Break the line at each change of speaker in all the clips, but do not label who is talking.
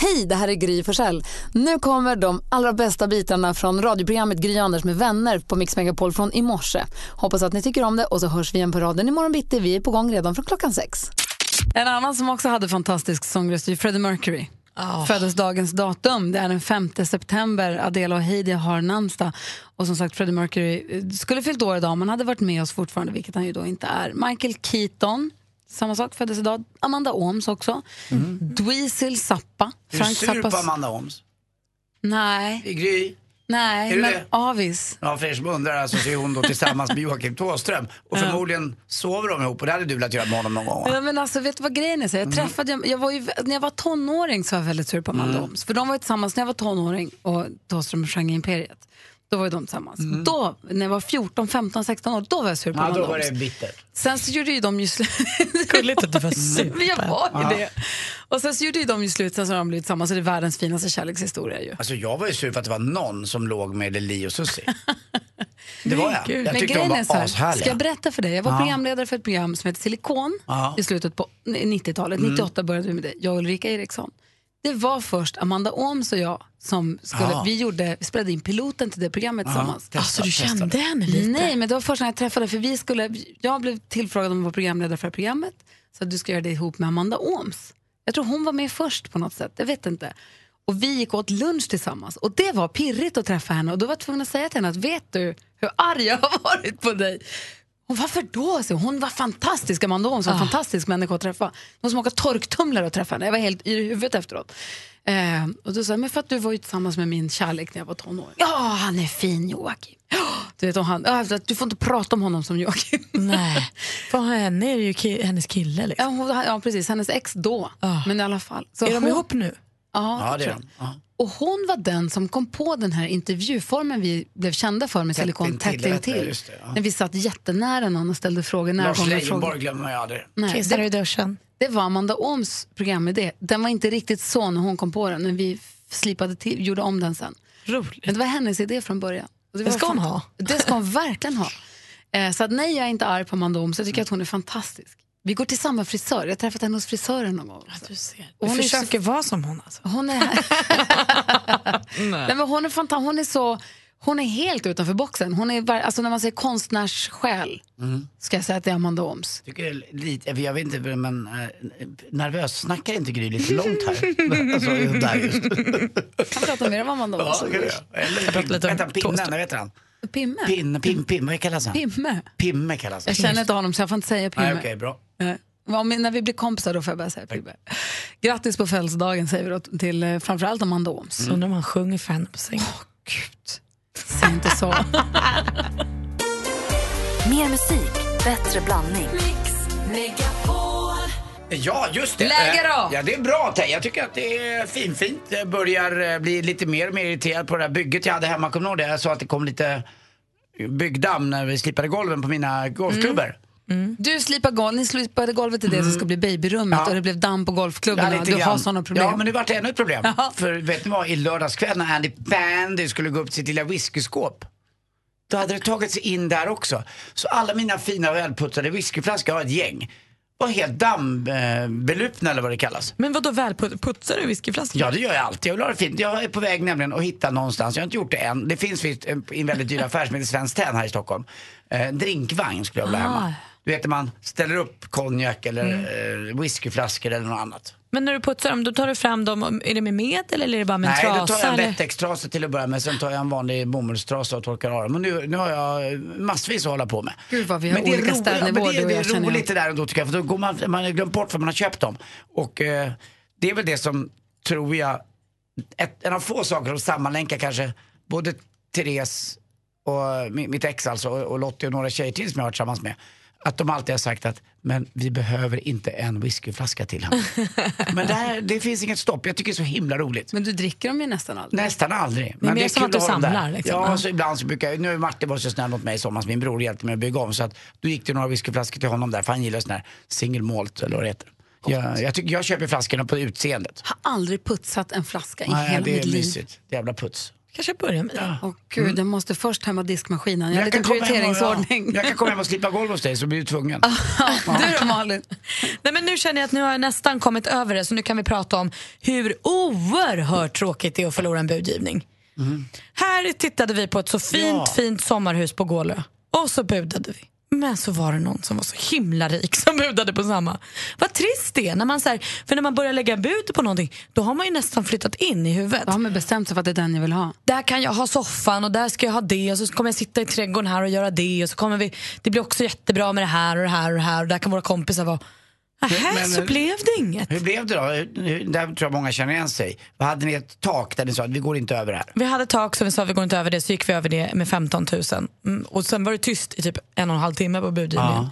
Hej, det här är Gry Forssell. Nu kommer de allra bästa bitarna från radioprogrammet Gry Anders med vänner på Mix Megapol från i morse. Hoppas att ni tycker om det och så hörs vi igen på raden imorgon bitti. Vi är på gång redan från klockan sex. En annan som också hade fantastisk sångröst är Freddie Mercury.
Ah.
Födelsedagens datum, det är den 5 september. Adela och Heidi har namnsdag. Och som sagt, Freddie Mercury eh, skulle fyllt år idag men hade varit med oss fortfarande, vilket han ju då inte är. Michael Keaton, samma sak, föddes idag. Amanda Ooms också. Dweezil Zappa.
Är Mm. du sur på
Zappas-
Amanda Holmes?
Nej,
Det är Gry.
nej,
Är du
men
det?
avis.
Ja, för er som undrar alltså, så är hon då tillsammans med Joakim Thåström. Och förmodligen sover de ihop och det hade du velat göra med honom någon gång va?
Ja, men alltså, vet du vad grejen är? Så jag
Mm.
träffade, jag, jag var ju, när jag var tonåring så var jag väldigt sur på
Mm.
Amanda Ooms. För de var ju tillsammans när jag var tonåring och Thåström och Genre Imperiet. Då var ju de tillsammans. Då, när jag var 14, 15, 16 år, då var jag sur
Mm.
på
Ja,
Amanda
då var
Ooms.
det bittert.
Sen så gjorde ju de ju slut.
Gulligt att du var sur.
Men jag var ju det. Och sen så gjorde ju de ju slut, sen så har de blivit tillsammans. Så det är världens finaste kärlekshistoria ju.
Alltså jag var ju sur för att det var någon som låg med Li och Susie. Det var jag. Jag
Men
tyckte de
grejen är så
var
här, ska jag
ashärliga.
berätta för dig? Jag var programledare för ett program som heter Silikon
Ja. Mm.
i slutet på 90-talet. 98 började vi med det, jag och Ulrika Eriksson. Det var först Amanda Ooms och jag som skulle,
Ja.
vi gjorde, vi spelade in piloten till det programmet tillsammans.
testa,
Alltså du
testa.
kände henne lite?
Nej, men det var först när jag träffade, för vi skulle, jag blev tillfrågad om att vara programledare för det här programmet. Så att du ska göra det ihop med Amanda Ooms. Jag tror hon var med först på något sätt, jag vet inte. Och vi gick åt lunch tillsammans och det var pirrigt att träffa henne och då var jag tvungen att säga till henne att vet du hur arg jag har varit på dig? Och varför då? Så hon var fantastisk, Amanda Ooms var en fantastisk människa att träffa. Hon som åka torktumlare och träffa henne, jag var helt yr i huvudet efteråt. Eh, och då sa jag, men för att du var ju tillsammans med min kärlek när jag var tonåring. Ja, han är fin Joakim. Ja, Du vet om han, ja, efter att du får inte prata om honom som Joakim.
Nej. För henne är det ju ki- hennes kille. Liksom.
Ja, hon, ja precis, hennes ex då.
Ah.
Men i alla fall. Så
Är de
hon-
ihop nu?
Ja,
Ja, det är
tror jag.
de. Ja.
Och hon var den som kom på den här intervjuformen vi blev kända för med Silikon
intill,
tätt
heter det,
intill.
just det, ja.
När vi satt jättenära någon och ställde frågor. När
Lars
kom det
Leijonborg
frågor?
glömmer man ju aldrig.
Nej,
Kissar
det,
i duschen?
det var Amanda Ooms programidé. Den var inte riktigt så när hon kom på den, men vi slipade till, gjorde om den sen.
Roligt.
Men det var hennes idé från början. Och
Det
var
ska hon
fan-
ha.
Det ska hon verkligen ha. Eh, Så att nej, jag är inte arg på Amanda Ooms. Jag tycker att hon är fantastisk. Vi går till samma frisör. Jag har träffat henne hos frisören någon gång. också.
Du ser.
Hon
Du
är
försöker vara som hon alltså.
Hon är, Nej, men hon är, fanta- hon är så... Hon är helt utanför boxen. Hon är, var- alltså när man säger konstnärssjäl
Mm.
ska jag säga att det är Amanda Ooms.
Tycker det är lite, jag vet inte, men eh, nervös snackar inte Gry lite långt här? alltså, där just.
Kan prata mer om Amanda Ooms.
Ja, Eller,
lite
lite
om
vänta, pinnen,
toast.
vad heter han?
Pimme.
Pinne, pim, pim, vad kallas han?
Pimme.
alltså. Pimme kallas han.
Jag känner inte honom så jag får inte säga Pimme.
Nej, okej, bra.
Nej. Om, när vi blir kompisar då får jag börja säga Pimme. Grattis på födelsedagen säger vi då till eh, framförallt Amanda Ooms.
Så Undrar om han sjunger för henne på sängen.
Gud, säg inte så.
Mer musik, bättre blandning.
Ja, just det.
Läge då?
Eh, Ja, det är bra. Tej. Jag tycker att det är finfint. Jag börjar eh, bli lite mer och mer irriterad på det här bygget jag hade hemma. Kommer du ihåg det? Jag sa att det kom lite byggdamm när vi slipade golven på mina golfklubbor.
Du slipar golvet, ni slipade golvet i det som ska bli
Mm.
babyrummet
Ja.
och det blev damm på
Ja,
golfklubborna.
lite
du har
grann.
sådana problem.
Ja, men det vart ännu ett problem.
Jaha.
För vet ni vad, i lördagskväll när Andy Pandy skulle gå upp till sitt lilla whiskyskåp. Då hade det tagit sig in där också. Så alla mina fina välputsade whiskyflaskor, jag har ett gäng, var helt dammbelupna eller vad det kallas.
Men vadå, välput- putsar du whiskyflaskan?
Ja, det gör jag alltid. Jag vill ha det fint. Jag är på väg nämligen att hitta någonstans, jag har inte gjort det än. Det finns visst en, i en väldigt dyr affär som heter Svenskt Tenn här i Stockholm. Eh, En drinkvagn skulle jag vilja ha
Ah.
hemma. Du vet när man ställer upp konjak eller
Mm.
eh, whiskyflaskor eller något annat.
Men när du putsar dem, då tar du fram dem, är det med medel eller är det bara med en
Nej,
trasa?
då tar jag en
eller?
lättextrasa till att börja med, sen tar jag en vanlig bomullstrasa och torkar av dem. Och nu, nu har jag massvis att hålla på med.
Gud, vad vi har
Men det är
olika
roligt-
städnivåer,
men Det
du
är,
och
det är
jag, känner jag.
roligt det där ändå tycker jag, för då går man, man har glömt bort vad man har köpt dem. Och eh, det är väl det som, tror jag, ett, en av få saker som sammanlänkar kanske både Therese och mi- mitt ex alltså, och, och Lottie och några tjejer till som jag har varit tillsammans med. Att de alltid har sagt att, men vi behöver inte en whiskyflaska till. hemma." men där, det finns inget stopp, jag tycker det är så himla roligt.
Men du dricker dem ju nästan aldrig.
Nästan aldrig.
mer som
kul
att du
ha dem där.
samlar, liksom.
Ja,
Ja.
så ibland så brukar jag, nu är Martin var så snäll mot mig i somras, min bror hjälpte mig att bygga om. Så att då gick det några whiskyflaskor till honom där, för han gillar sån här single malt eller vad det heter. Jag, jag, tycker, jag köper flaskorna på utseendet.
har aldrig putsat en flaska i
Nej,
hela
det
mitt
är
liv.
mysigt. Jävla puts.
kanske börja med det.
Och gud, jag måste först hemma diskmaskinen. Jag har
Mm. Jag kan
lite
komma hem och-
prioriteringsordning.
Ja, jag kan komma hem och slippa golv hos dig så blir du tvungen.
Ah,
Du då Malin?
Nej, men nu känner jag att nu har jag nästan kommit över det så nu kan vi prata om hur oerhört tråkigt det är att förlora en budgivning. Här tittade vi på ett så fint,
Ja.
fint sommarhus på Gålö och så budade vi. Men så var det någon som var så himla rik som budade på samma. Vad trist det är, när man, så här, för när man börjar lägga bud på någonting då har man ju nästan flyttat in i huvudet.
Då har man bestämt sig för att det är den jag vill ha.
Där kan jag ha soffan och där ska jag ha det och så kommer jag sitta i trädgården här och göra det och så kommer vi, det blir också jättebra med det här och det här och det här och där kan våra kompisar vara. Nähä,
men-
så blev det inget.
Hur blev det då? Hur- hur- Där tror jag många känner igen sig. Vad Hade ni ett tak där ni sa att vi går inte över det här?
Vi hade tak som vi sa vi går inte över det, så gick vi över det med 15 000. Mm, och sen var det tyst i typ en och en halv timme på budgivningen.
Ja.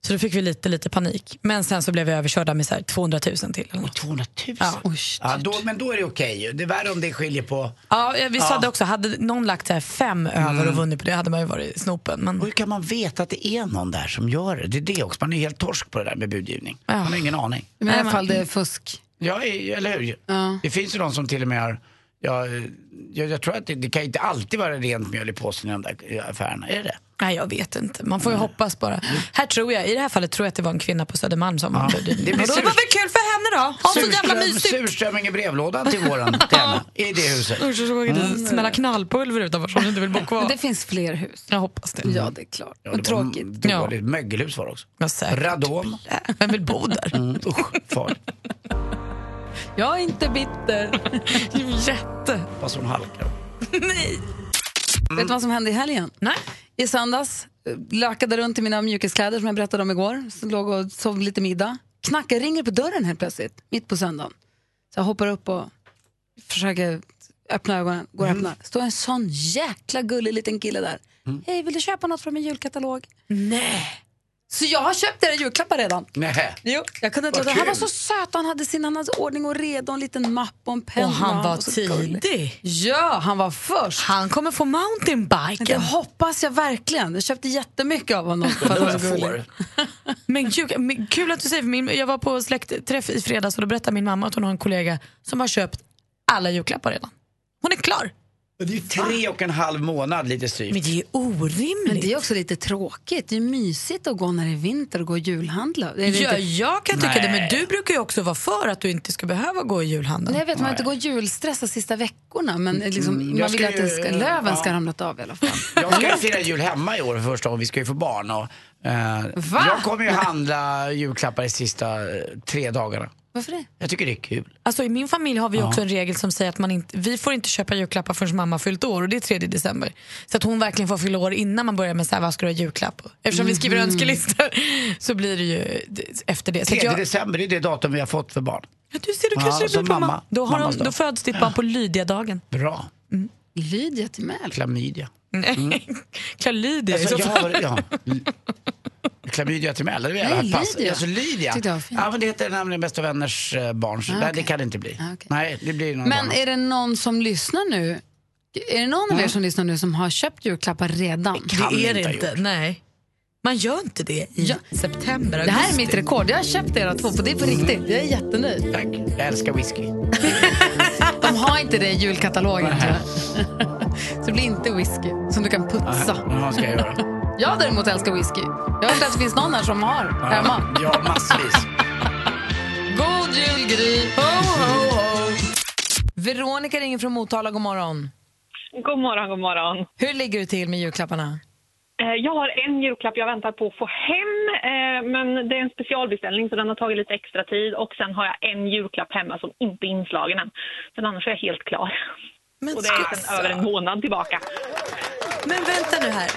Så då fick vi lite, lite panik. Men sen så blev vi överkörda med så här 200 000 till. Eller något.
200 000?
Ja.
Oj,
Ja, då, men då är det okej ju. Det är värre om det skiljer på...
Ja, eh, vi sa det också, hade någon lagt så här fem
Mm.
över och vunnit på det hade man ju varit i snopen. Men...
Och hur kan man veta att det är någon där som gör det? Det är det också. Man är ju helt torsk på det där med budgivning.
Ja.
Man har ingen aning.
Men I alla fall det är fusk.
Ja, i- eller hur?
Ja.
Det finns ju de som till och med har... Ja, eh, jag, jag tror att det, det kan ju inte alltid vara rent mjöl i påsen i de där eh, affärerna. Är det det?
Nej, jag vet inte. Man får ju hoppas bara. Här tror jag, I det här fallet tror jag att det var en kvinna på Södermalm som var budgivning.
Det blir
Och Då var
sur-
det väl kul för henne då? Ha så jävla mysigt!
surströmming i brevlådan till våren till henne, i det huset. Mm.
Usch, så kommer det smälla knallpulver utanför så om du inte vill bo
Men
kvar.
det finns fler hus.
Jag hoppas det.
Ja, det är klart.
Ja,
Och
det var m-
tråkigt.
Dåligt. Mögelhus var det också.
Ja, säkert.
Radon.
Vem vill bo där?
Mm, usch, farligt.
Jag är inte bitter.
Jätte.
Vad som halkar.
Nej.
Vet du vad som hände i helgen?
Nej.
I söndags eh, lökade runt i mina mjukis-kläder som jag berättade om igår. Så låg och sov lite middag. Knackar ringer på dörren helt plötsligt, mitt på söndagen. Så jag hoppar upp och försöker öppna ögonen. Går och
Mm.
öppnar. Står en sån jäkla gullig liten kille där. Hej, vill du köpa något från min julkatalog?
Nej.
Så jag har köpt era julklappar redan.
Nej.
Jo, jag kunde inte
Vad
låta. Han var
kul.
så söt. Han hade sin han hade ordning och reda och en liten mapp och en penna.
Och han var
så gullig.
tidig.
Ja, han var först.
Han kommer få
Det
mountainbiken.
hoppas jag verkligen. Jag köpte jättemycket av honom. För att
Vad
han var
jag
så gullig.
får.
Men kul, men kul att du säger, för min, jag var på släktträff i fredags och då berättade min mamma att hon har en kollega som har köpt alla julklappar redan. Hon är klar.
Det är ju tre och en halv månad lite styvt.
Men det är ju
Men
orimligt.
det är också lite tråkigt. Det är mysigt att gå när det är vinter och gå och julhandla. Det är
Ja,
lite...
jag kan tycka det, men
Nej.
du brukar ju också vara för att du inte ska behöva gå i julhandeln.
Nej, jag vet, man inte går och julstressar sista veckorna men
Mm,
liksom,
jag
man vill
ska
att det ska,
ju-
löven
ja.
ska ha ramlat av i alla fall.
Jag ska ju fira jul hemma i år för första gången. Vi ska ju få barn. Och, eh,
Va?
jag kommer ju handla julklappar de sista eh, tre dagarna.
Varför det?
Jag tycker det är kul.
Alltså, I min familj har vi också en regel som säger att man inte, vi får inte köpa julklappar förrän mamma har fyllt år och det är 3 december. Så att hon verkligen får fylla år innan man börjar med så här, vad ska du ha i julklapp? Eftersom vi
Mhm.
skriver önskelistor så blir det ju det- efter det. Så att
3
jag,
december det är det datum vi har fått för barn.
Ja, du ser, du
Ja,
kanske det
som
blir på mamma.
mamma.
Då, har
Mammas
hon, då
dag.
föds ditt barn på Lydia-dagen.
Bra.
Lydia till mig.
Klamydia.
Nej, Klamydia i
Mm. Alltså,
så
jag
fall.
har, ja. L- Klamydia till mig, eller det är
Nej,
Nej, pass.
Lydia.
Alltså, Lydia.
Tyckte jag var fint.
Ja, men det heter nämligen Bästa vänners eh, barn. Så Nej, det kan det inte bli.
Ah, okej.
Nej, det blir någon
Men
annan.
är det någon som lyssnar nu? Är det någon av er som lyssnar nu som har köpt julklappar redan?
kan
det är
vi
det
inte ha
inte. Nej. Man gör inte det i
Ja.
september,
Det här är
augusti.
mitt rekord. Jag har köpt era två, för det är på riktigt. Jag är jättenöjd.
Mm. Tack. Jag älskar whisky.
De har inte det i julkatalogen tyvärr. Så det blir inte whisky som du kan putsa.
Vad ska jag göra?
Jag däremot älskar whisky. Jag har hört att det finns någon här som har hemma.
Ja, massvis.
God jul, Gry! Ho, ho, ho. Veronica ringer från Motala. God morgon.
God morgon, god morgon.
Hur ligger du till med julklapparna?
Eh, Jag har en julklapp jag väntar på att få hem, eh, men det är en specialbeställning så den har tagit lite extra tid. Och sen har jag en julklapp hemma som inte är inslagen än. Sen annars är jag helt klar.
Men,
Och det är sedan
alltså.
över en månad tillbaka.
Men vänta nu här.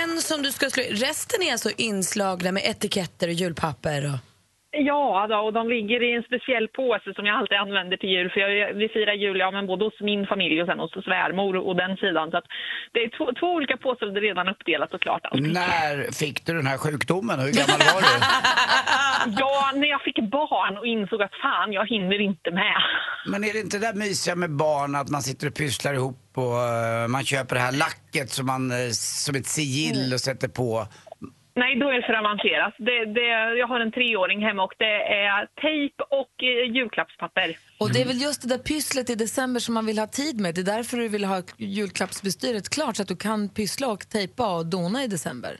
En som du ska slå i. Resten är alltså inslagna med etiketter och julpapper. Och...
Ja, då, och de ligger i en speciell påse som jag alltid använder till jul. För jag, vi firar jul ja, men både hos min familj och sen hos svärmor och den sidan. Så att det är två, två olika påsar och det är redan uppdelat och klart. Allt.
När fick du den här sjukdomen och hur gammal var du?
Ja, när jag fick barn och insåg att fan, jag hinner inte med.
Men är det inte det där mysiga med barn att man sitter och pysslar ihop Mm. och eh, man köper det här lacket som, man, eh, som ett sigill och sätter på?
Nej, då är det för avancerat. Det, det, jag har en treåring hemma och det är tejp och eh, julklappspapper.
Och det är väl just det där pysslet i december som man vill ha tid med. Det är därför du vill ha julklappsbestyret klart så att du kan pyssla och tejpa och dona i december.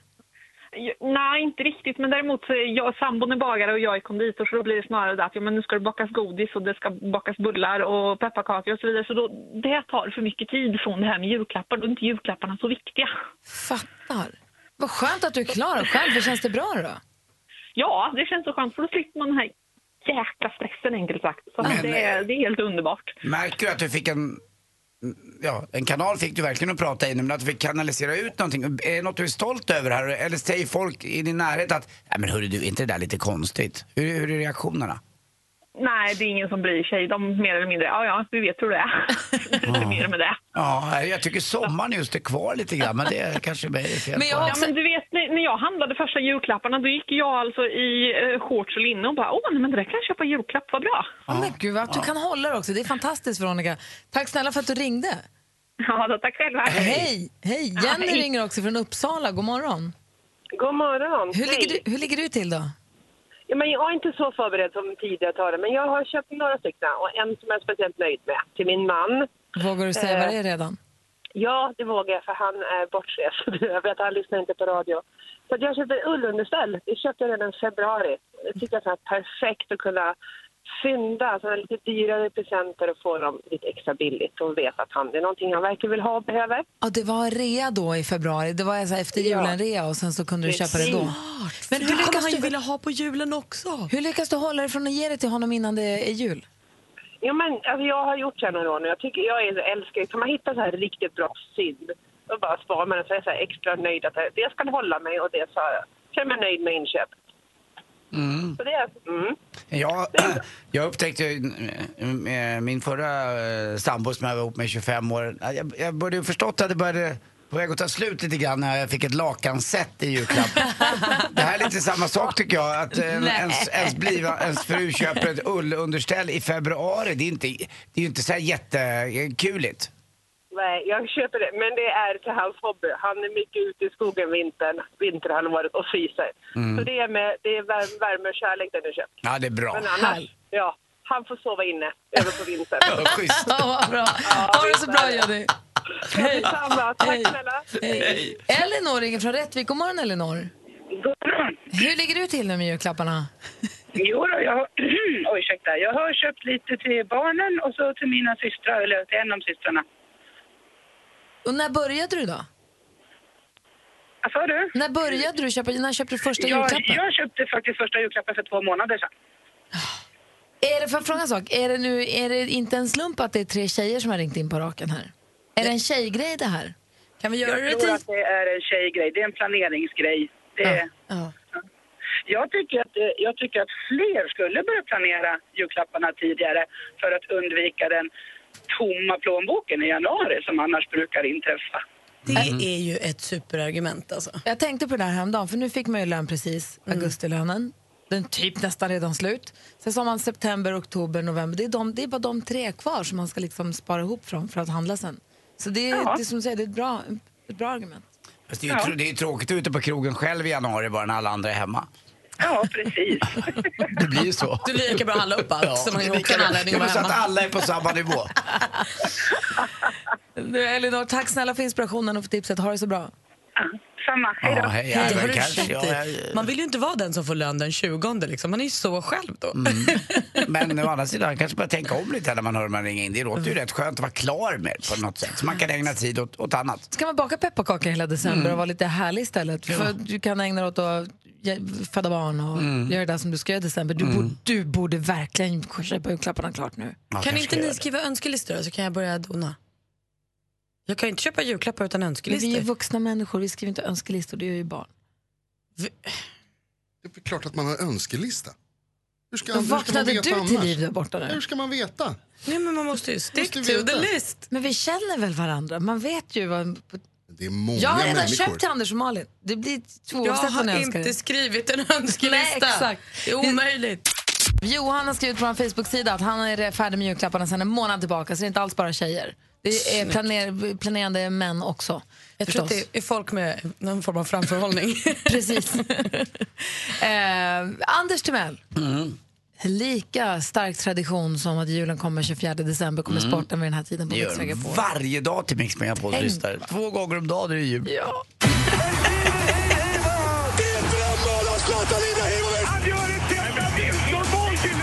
Jo, Nej, inte riktigt. Men däremot så är jag, sambon är bagare och jag är konditor så då blir det snarare det att ja, men nu ska det bakas godis och det ska bakas bullar och pepparkakor och så vidare. Så då, det tar för mycket tid från det här med julklappar. Då är inte julklapparna så viktiga.
Fattar. Vad skönt att du är klar och själv. Hur känns det bra då?
Ja, det känns så skönt för då slipper man den här jäkla stressen enkelt sagt. Så att
Men-
det, är- det är helt underbart.
Märker du att du fick en... Ja, en kanal fick du verkligen att prata inom, men att du fick kanalisera ut någonting. Är det något du är stolt över här? Eller säger folk i din närhet att, nej men hörru du, är inte det där lite konstigt? Hur, hur är reaktionerna?
Nej, det är ingen som bryr sig. De mer eller mindre, ja ja, vi vet hur det är. Det är inte mer med det.
Ja, jag tycker sommaren just är kvar lite grann, men det är kanske mig det är fel
Men
på.
jag-
Ja, men du vet, när när jag handlade första julklapparna då gick jag alltså i eh, shorts och linne och bara åh, nej, men det där kan jag köpa i julklapp, vad bra.
Ja, men gud, att du kan hålla det också. Det är fantastiskt, Veronica. Tack snälla för att du ringde.
Ja, då, tack själva.
Hej! Hej! Jenny
hej.
ringer också från Uppsala. God morgon.
God morgon.
Hur,
Hej.
ligger du, hur ligger du till då?
ja, men jag är inte så förberedd som tidigare talare, men jag har köpt några stycken och en som jag är speciellt nöjd med till min man.
Vågar du säga
Eh.
vad det är redan?
Ja, det vågar jag för han är bortrest. Jag vet, han lyssnar inte på radio. Så att jag köpte ett ullunderställ. Det köpte jag redan i februari. Det tycker jag är så här perfekt att kunna fynda sådana lite dyrare presenter och få dem lite extra billigt och veta att han, det är någonting han verkligen vill ha och behöver.
Ja, det var rea då i februari. Det var så här efter
Ja.
julen-rea och sen så kunde du köpa det då.
Precis.
Men
det
hur
kommer
lyckas
han
du
ju
vilja ha på julen också?
Hur lyckas du hålla dig från att ge det till honom innan det är jul?
Ja, men alltså, jag har gjort så här några år nu. Jag, tycker, jag är, älskar kan man hitta så här riktigt bra synd och bara spara med den så är jag så här extra nöjd att det- det ska hålla mig och det så här, känner mig nöjd med inköp. Så det, är- mm.
Ja, jag upptäckte ju, eh, eh, min förra eh, sambo som jag var ihop med i 25 år. eh, Jag, jag började ju förstått att det började på väg att ta slut lite grann när jag fick ett lakanset i julklapp. det här är lite samma sak tycker jag. Att eh, ens, ens, bliva, ens fru köper ett ullunderställ i februari. Det är, inte, det är ju inte så här jättekuligt.
Nej, jag köper det. Men det är till hans hobby. Han är mycket ute i skogen vintern, vinterhalvåret och fryser. Så det är, med, det är värme, värme och kärlek den är köpt.
Ja, det är Mm. bra.
Men annars, ja, han får sova inne över på vintern.
Ja, Schysst.
Ja, vad bra. Ha det så bra, Jenny. Hej.
Detsamma. Tack
Hej.
snälla.
Hej. Elinor ringer från Rättvik. God morgon, Elinor. Hur ligger du till nu med julklapparna?
Jo, då, jag, oj, ursäkta. jag har köpt lite till barnen och så till mina systrar, eller till en av systrarna.
Och när började du då?
Vad sa du?
När började du köpa, när köpte du första
Jag,
julklappen?
jag köpte faktiskt första julklappen för två månader sedan.
Är det, för att fråga en sak, är det, nu, är det inte en slump att det är tre tjejer som har ringt in på raken här? Är det en tjejgrej det här?
Kan vi göra det
Jag tror
till...
att det är en tjejgrej, det är en planeringsgrej. Det,
Ja. Ja.
jag, tycker att, eh, jag tycker att fler skulle börja planera julklapparna tidigare för att undvika den tomma plånboken i januari som annars brukar inträffa.
Äh.
Det är ju ett superargument alltså.
Jag tänkte på det där häromdagen, för nu fick man ju lön precis, augustilönen. Den typ nästan redan slut. Sen så har man september, oktober, november. Det är, de, det är bara de tre kvar som man ska liksom spara ihop från för att handla sen. Så det är, det är som du säger, det är ett bra, ett bra argument.
Fast Det är ju tr- det är ju tråkigt ute på krogen själv i januari bara när alla andra är hemma.
Ja, precis.
Det blir ju så.
Det blir lika bra att handla upp allt så man
det
kan
blir
åka en
lika-
anledning
Ja,
och
men
vara
Så att
hemma.
alla är på samma nivå.
Du, Elinor, tack snälla för inspirationen och för tipset. Ha det så bra.
Ja, Samma, hej då.
Ja, hej,
Det
ja,
har
men
du
kanske,
rätt
ja,
i.
ja.
Man vill ju inte vara den som får lön den 20 liksom. Man är ju så själv då.
Mm. Men å andra sidan kanske börjar tänka om lite när man hör man ringa in. Det låter ju rätt skönt att vara klar med det på något sätt. Så man kan ägna tid åt, åt annat.
Ska man baka pepparkakor hela december och vara lite härlig istället? För du kan ägna dig åt att ge- föda barn och
Mm.
göra det där som du ska göra i december. Du, borde, du borde verkligen köpa julklapparna klart nu.
Ja,
Kan
kanske
inte
gör
ni
det.
skriva önskelistor då, så kan jag börja dona? Jag kan ju inte köpa julklappar utan
Men vi är ju
önskelistor.
vuxna människor, vi skriver inte önskelistor, det gör ju barn.
Det är väl klart att man har önskelista. Hur ska,
Då
hur ska man
vaknade du
veta
till
annars?
liv där borta nu.
Hur ska man veta?
Nej men man måste ju stick
Måste
to
veta.
the list.
Men vi känner väl varandra? Man vet ju vad...
Det är många
Jag har redan
människor.
köpt till Anders och Malin. Det blir
Jag
oavsett vad ni
har
önskar
inte
er.
skrivit en önskelista.
Nej, exakt.
Det är omöjligt.
Johan har skrivit på vår Facebook-sida att han är färdig med julklapparna sedan en månad tillbaka, så det är inte alls bara tjejer. Det är planer, planerande män också.
Jag tror att det är folk med någon form av framförhållning.
Precis. eh, Anders Timell.
Mm.
Lika stark tradition som att julen kommer 24 december kommer sporten vid den här tiden på
Mm. Det
Mix
gör
Megapol.
varje dag till Mix Megapol
Tänk.
lyssnare. Två gånger om dagen är det jul.
Ja.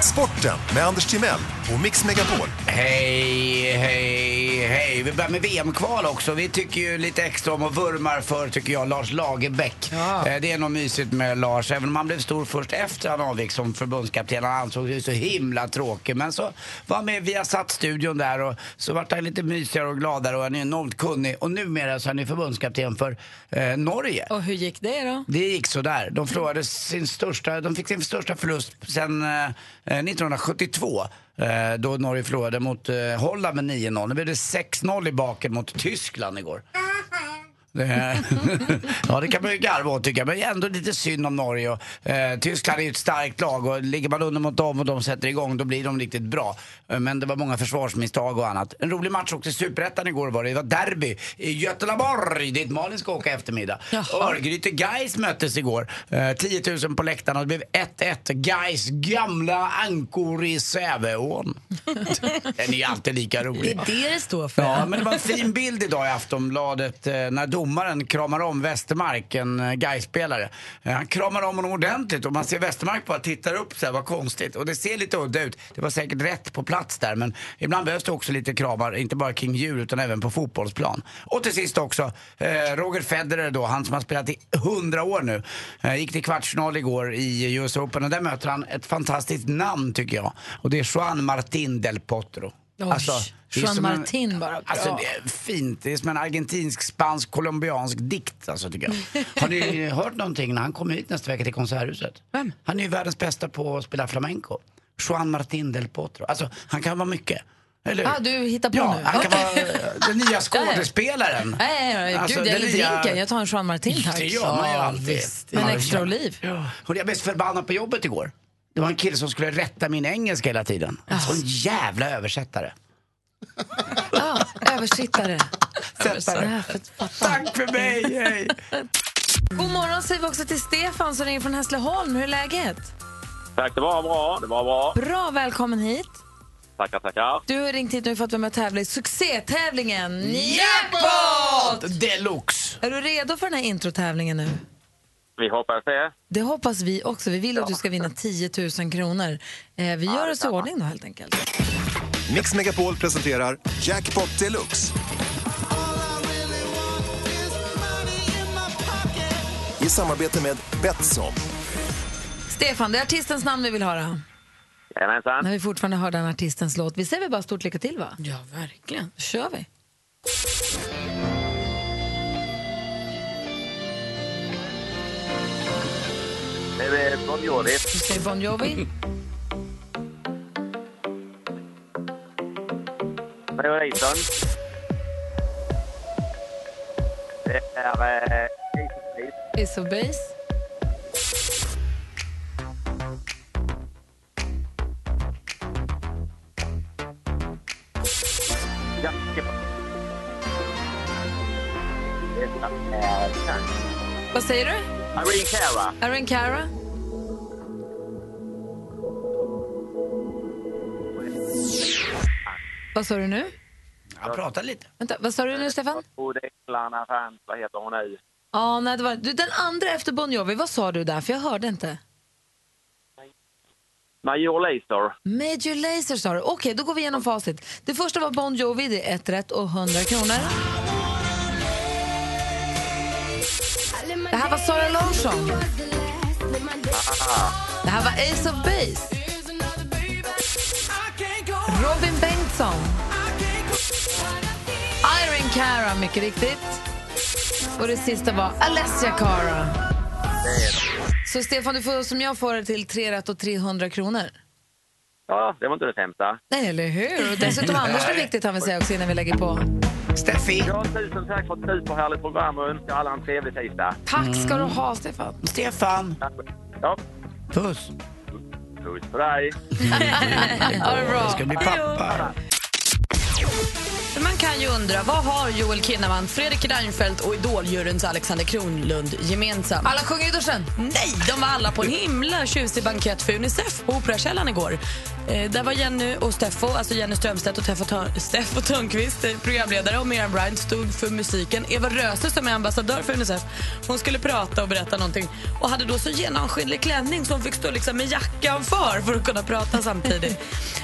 Sporten med Anders Timell och Mix Megapol.
Hej, hej, hej. Vi börjar med VM-kval också. Vi tycker ju lite extra om och vurmar för, tycker jag, Lars Lagerbäck. Eh, Det är nog mysigt med Lars, även om han blev stor först efter han avgick som förbundskapten. Han ansåg ju så himla tråkig, men så var han med via satt studion där och så vart han lite mysigare och gladare och han är enormt kunnig. Och numera så är han ju förbundskapten för eh, Norge.
Och hur gick det då?
Det gick så där. De förlorade sin största, de fick sin största förlust sedan eh, 1972. Eh, då Norge förlorade mot eh, Holland med 9-0. Nu blev det 6-0 i baken mot Tyskland igår. Det- ja, det kan man ju garva åt tycker jag. Men ändå lite synd om Norge. Och, eh, Tyskland är ju ett starkt lag och ligger man under mot dem och de sätter igång då blir de riktigt bra. Eh, Men det var många försvarsmisstag och annat. En rolig match också i Superettan igår var det. Det var derby i Göteborg dit Malin ska åka i eftermiddag. Örgryte Gais möttes igår. Eh, 10 000 på läktarna och det blev 1-1. Gais gamla ankor i Säveån. Den är ju alltid lika rolig.
Det är det det står för.
Ja, men det var en fin bild idag i Aftonbladet eh, när domaren kramar om Westermark, en eh, Gais-spelare. Eh, Han kramar om honom ordentligt och man ser Westermark bara tittar upp så här, vad konstigt. Och det ser lite udda ut. Det var säkert rätt på plats där, men ibland behövs det också lite kramar, inte bara kring djur utan även på fotbollsplan. Och till sist också, eh, Roger Federer då, han som har spelat i 100 år nu, eh, gick till kvartsfinal igår i US Open och där möter han ett fantastiskt namn tycker jag. Och det är Juan Martín del Potro.
Oj,
Alltså, det är
Juan
som en-
Martin bara.
Alltså,
Bra.
det är fint. Det är som en argentinsk, spansk, colombiansk dikt. Alltså, tycker jag. Har ni hört någonting när han kommer hit nästa vecka till Konserthuset?
Vem?
Han är ju världens bästa på att spela flamenco. Juan Martín del Potro. Alltså, han kan vara mycket. Eller hur?
Ah, du hittar på
ja,
nu.
han kan vara
Okej.
eh, den nya skådespelaren.
Nej, nej, nej,
Alltså,
gud, jag
den
gillar
nya-
drinken. Jag tar en Juan Martin tack.
Det gör man ju
Ja,
alltid.
visst. Med
Ja,
en
det
extra
gör-
oliv.
Ja. Hörde, jag blev så förbannad på jobbet igår. Det var en kille som skulle rätta min engelska hela tiden. Alltså, En sån jävla översättare.
Ja, översittare.
Sättare. Tack för mig! Hej.
God morgon säger vi också till Stefan som ringer från Hässleholm. Hur är läget?
Tack, det var bra. Det var bra.
Bra, välkommen hit.
Tackar, tackar.
Du har ringt hit nu för att vara med och tävla i succétävlingen Jackpot!
Jackpot deluxe!
Är du redo för den här introtävlingen nu?
Vi hoppas det.
Det hoppas vi också. Vi vill att du ska vinna 10 000 kronor. Eh, vi gör oss i ordning då helt enkelt.
Mix Megapol presenterar Jackpot Deluxe. I samarbete med Betsson.
Stefan, det är artistens namn vi vill höra.
Jajamensan.
När vi fortfarande hör den artistens låt. Vi säger väl bara stort lycka till va?
Ja, verkligen.
Då kör vi.
Det är Bon Jovi.
Du säger Bon Jovi.
Det är Reason. Det är... eh, Ace
Ace
of Base.
of Base.
Ja, det är- Det är... eh,
Vad säger du?
Irene Cara.
Aaron Cara? Vad sa du nu?
Jag pratar lite.
Vänta, vad sa du nu Stefan?
Och det är Lana Fans. Vad heter hon nu?
Ja, nej, det var, du, den andra efter Bon Jovi, vad sa du där? För jag hörde inte.
Major Lazer.
Major Lazer sa du. Okej, då går vi igenom facit. Det första var Bon Jovi, det är ett rätt och 100 kronor. Det här var Sara Larsson. Det här var Ace of Base. Robin Bengtsson. Irene Cara, mycket riktigt. Och det sista var Alessia Cara. Så Stefan, du får som jag får det till 3 rätt och 300 kronor.
Ja, det var inte det sämsta.
Nej, eller hur? Och dessutom Anders är viktigt han vill säga också innan vi lägger på.
Steffi,
Ja, tusen tack för ett superhärligt program och önskar alla en trevlig tisdag.
Tack ska du
Mm.
ha, Stefan.
Stefan,
Ja,
puss.
puss på dig.
Ha det bra.
Jag ska bli pappa.
Man kan kan ju undra, vad har Joel Kinnaman, Fredrik Reinfeldt och idoljuryns Alexander Kronlund gemensamt?
Alla sjunger i duschen.
Nej, de var alla på en himla tjusig bankett för Unicef på Operakällaren igår. Eh, där var Jenny och Steffo, alltså Jenny Strömstedt och Teffo Törn- Steffo Törnqvist, eh, programledare och Miriam Bryant stod för musiken. Eva Röse som är ambassadör för Unicef, hon skulle prata och berätta någonting och hade då så genomskinlig klänning så hon fick stå liksom med jackan för för att kunna prata samtidigt.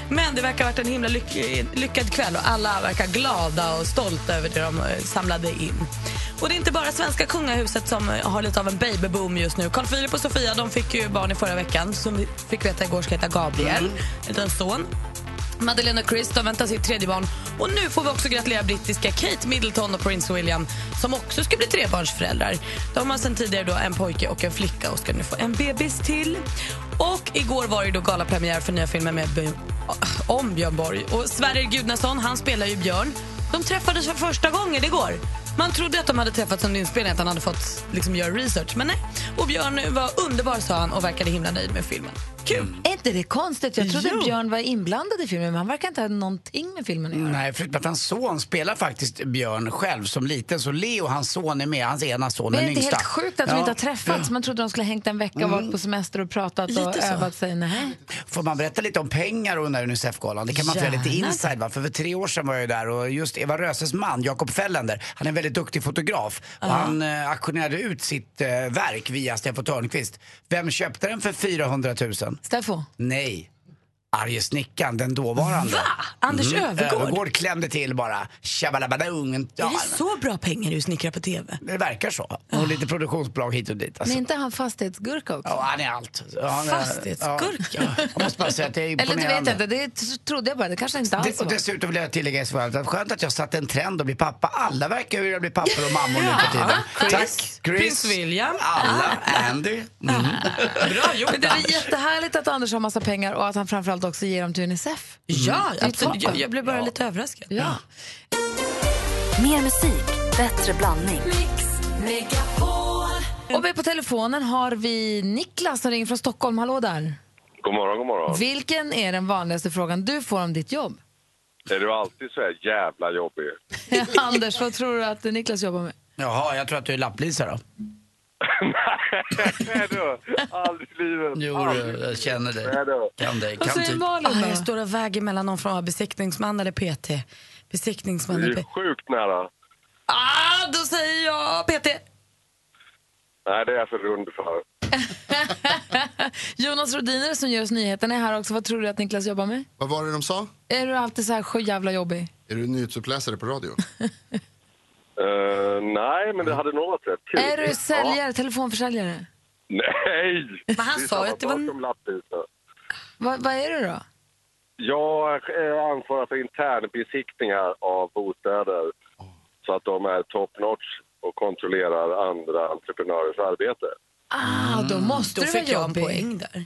Men det verkar ha varit en himla lyck- lyckad kväll och alla verkar glada och stolta över det de eh, samlade in. Och det är inte bara svenska kungahuset som eh, har lite av en babyboom just nu. Carl Philip och Sofia de fick ju barn i förra veckan som vi fick veta igår ska heta Gabriel, en son. Madeleine och Chris de väntar sitt tredje barn. Och nu får vi också gratulera brittiska Kate Middleton och prins William som också ska bli trebarnsföräldrar. De har sedan tidigare då en pojke och en flicka och ska nu få en bebis till. Och igår var det då galapremiär för nya filmen med Björn- om Björn Borg. Och Sverrir Gudnason, han spelar ju Björn. De träffades för första gången igår. Man trodde att de hade träffats under inspelningen, att han hade fått liksom, göra research. Men nej. Och Björn var underbar, sa han, och verkade himla nöjd med filmen. Kul!
Är inte det konstigt? Jag trodde
Jo.
Björn var inblandad i filmen, men han verkar inte ha någonting med filmen att göra.
Nej, förutom att hans son spelar faktiskt Björn själv som liten. Så Leo, hans son, är med. Hans ena son,
Men är
den
det inte
yngsta.
helt sjukt att de
Ja.
inte har träffats? Man trodde de skulle ha hängt en vecka och varit
Mm.
på semester och pratat och
Lite så.
övat sig. Nej.
Får man berätta lite om pengar och den här Unicef-galan? Det kan man få göra lite
Gärna.
inside va? För, för tre år sedan var jag ju där och just Eva Röses man, Jakob Fällender, han är en väldigt duktig fotograf. Och
Ja.
han eh, auktionerade ut sitt eh, verk via Steffo Törnqvist. Vem köpte den för 400 000?
Steffo?
Nej. Arge snickaren, den dåvarande.
Va? Anders Öfvergård?
Öfvergård klämde till bara. Tjabalabadung. Ja,
Är det så bra pengar du snickrar på tv?
det verkar så. Och lite produktionsbolag hit och dit. Alltså.
Men inte han fastighetsgurka också?
Ja, han är allt. Ja, han är-
Fastighetsgurka?
Ja. Jag måste bara säga att det är
Eller det
imponerande.
vet jag inte, det t- trodde jag bara. Det kanske inte alls
Det, och
var.
dessutom vill jag tillägga i svaret att skönt att jag satte en trend att bli pappa. Alla verkar ju vilja bli pappor och mammor nu
Ja.
för tiden.
Chris,
Tack!
prins William.
Alla, Andy. Mm.
Bra gjort,
Men det är
Anders.
jättehärligt att Anders har massa pengar och att han framförallt också ger dem till Unicef.
Ja,
Det är
absolut.
toppen.
Jag, jag blev bara lite överraskad.
Ja.
Mer musik, bättre blandning.
Och med på telefonen har vi Niklas som ringer från Stockholm. Hallå där.
God morgon, god morgon.
Vilken är den vanligaste frågan du får om ditt jobb?
Är du alltid så här jävla jobbig?
Anders, vad tror du att Niklas jobbar med?
Jaha, jag tror att du är lapplisa då.
Nej du, aldrig i livet.
Jo, du, jag känner dig. Kan dig,
Vad
kan typ-
säger
dig.
Malin då? Ah, Jag står och väger mellan någon från besiktningsman eller PT. Besiktningsman
Du
eller
är
PT.
sjukt nära.
Ah, då säger jag PT.
Nej, det är jag för rund för.
Jonas Rodiner som gör oss nyheterna är här också. Vad tror du att Niklas jobbar med?
Vad var det de sa?
Är du alltid så här sjö jävla jobbig?
Är du nyhetsuppläsare på radio?
Eh, nej, men det hade nog varit rätt kul.
Är du
Ja.
säljare, telefonförsäljare?
Nej!
Men han
Det är
sa
samma
ju att det var-
sak Som lappisa.
Va, vad är du då?
jag eh, ansvarar för internbesiktningar av bostäder så att de är top notch och kontrollerar andra entreprenörers arbete.
Ah, då
Mm.
måste
Då
du vara
fick jag en
jobbig.
poäng där.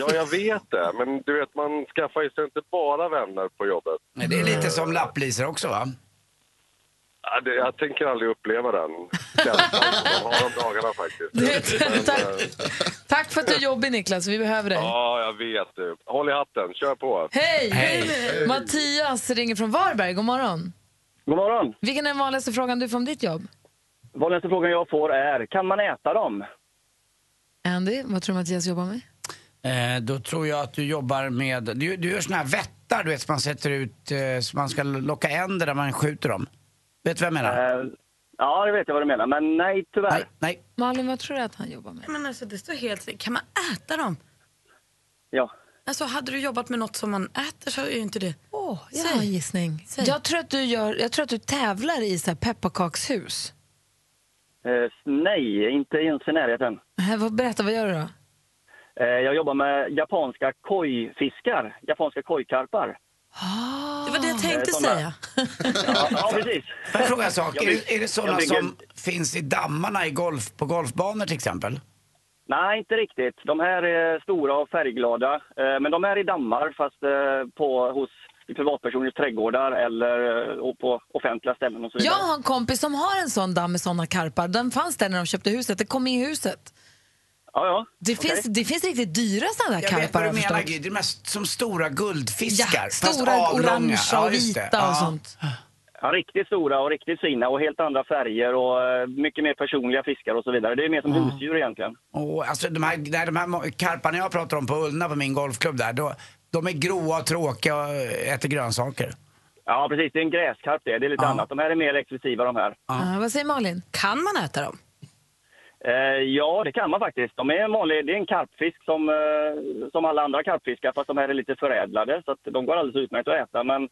Ja, jag vet det, men du vet, man skaffar ju sig inte bara vänner på jobbet.
Men Det är lite som lapplisor också va?
Ja, det, jag tänker aldrig uppleva den känslan som man har de dagarna faktiskt. Men, eh,
Tack för att du är jobbig Niklas, vi behöver dig.
ja, jag vet. du. Håll i hatten, kör på.
Hej! Mattias ringer från Varberg, god morgon.
God morgon.
Vilken är den vanligaste frågan du får om ditt jobb?
Vanligaste frågan jag får är, kan man äta dem?
Andy, vad tror du Mattias jobbar med?
Eh, då tror jag att du jobbar med, du, du gör såna här vättar du vet som man sätter ut, eh, så man ska locka änder där man skjuter dem. Vet du vad jag menar?
Eh, Ja, det vet jag vad du menar, men nej tyvärr. Nej,
nej.
Malin, vad tror du att han jobbar med?
Men alltså, det står helt still. Kan man äta dem?
Ja.
Alltså, hade du jobbat med något som man äter så är ju inte det...
Åh, jag har en gissning. Jag tror, att du gör, jag tror att du tävlar i så här pepparkakshus.
Eh, nej, inte ens i närheten.
Eh, vad- Berätta, vad gör du då?
Eh, jag jobbar med japanska kojfiskar, japanska kojkarpar.
Det var det jag tänkte
Eh, såna-
säga.
Ja, ja precis.
Får jag fråga en sak?
Jag
Är,
bygg-
det- är det
jag
sådana
bygger-
som finns i dammarna i golf, på golfbanor till exempel?
Nej, inte riktigt. De här är stora och färgglada. Eh, Men de är i dammar, fast eh, på, hos privatpersoners trädgårdar eller eh, och på offentliga ställen och så
Jag
vidare.
har en kompis som har en sån damm med såna karpar. Den fanns där när de köpte huset. Det kom in i huset.
Ja, ja.
Det, finns, det finns riktigt dyra såna där
Jag vet
karpar
vad du
har jag
menar
förstått.
Gry, det är mest som stora guldfiskar.
Ja,
fast
stora
avlånga.
orangea och
just det.
vita och sånt.
Ja, riktigt stora och riktigt fina och helt andra färger och eh, mycket mer personliga fiskar och så vidare. Det är mer som husdjur egentligen.
Och, alltså, de här, nej, de här mo- karparna jag pratar om på Ullna på min golfklubb där, då, de är gråa och tråkiga och äter grönsaker.
Ja, precis. Det är en gräskarp det. Det är lite annat. De här är mer exklusiva de här.
Ja, Eh, vad säger Malin? Kan man äta dem?
Eh, ja, det kan man faktiskt. De är en vanlig, det är en karpfisk som, eh, som alla andra karpfiskar, fast de här är lite förädlade. Så att de går alldeles utmärkt att äta. Men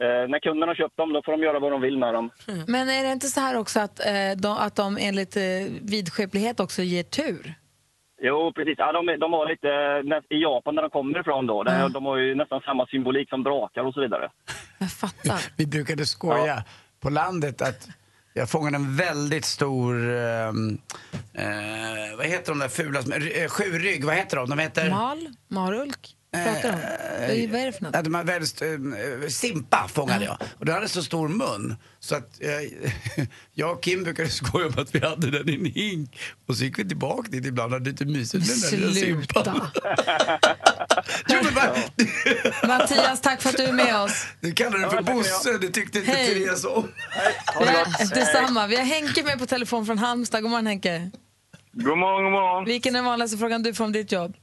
eh, när kunderna har köpt dem, då får de göra vad de vill med dem.
Men är det inte så här också att, eh, de, att de enligt eh, vidskeplighet också ger tur?
Jo, precis. Ja, de, är- de har lite, eh, nä- i Japan där de kommer ifrån då, där, de har ju nästan samma symbolik som drakar och så vidare.
Vi brukade skoja på landet att jag fångade en väldigt stor, ehm, eh, vad heter de där fula, som- eh, sjurygg, vad heter de? De heter...
Mal? Marulk? Pratar de?
Eh,
Vad är det för något?
Ja, de här väldigt, st- eh, simpa fångade jag. Och den hade så stor mun så att eh, jag och Kim brukade skoja om att vi hade den i en hink. Och så gick vi tillbaka dit ibland och hade lite mysigt med den där lilla simpan. jo, men vad-
Mattias, tack för att du är med oss.
Du kallade den för Bosse, det tyckte inte
Hej.
Therese om.
Vi har, detsamma. Vi har Henke med på telefon från Halmstad. God morgon Henke.
God morgon, god morgon.
Vilken är den vanligaste frågan du får om ditt jobb?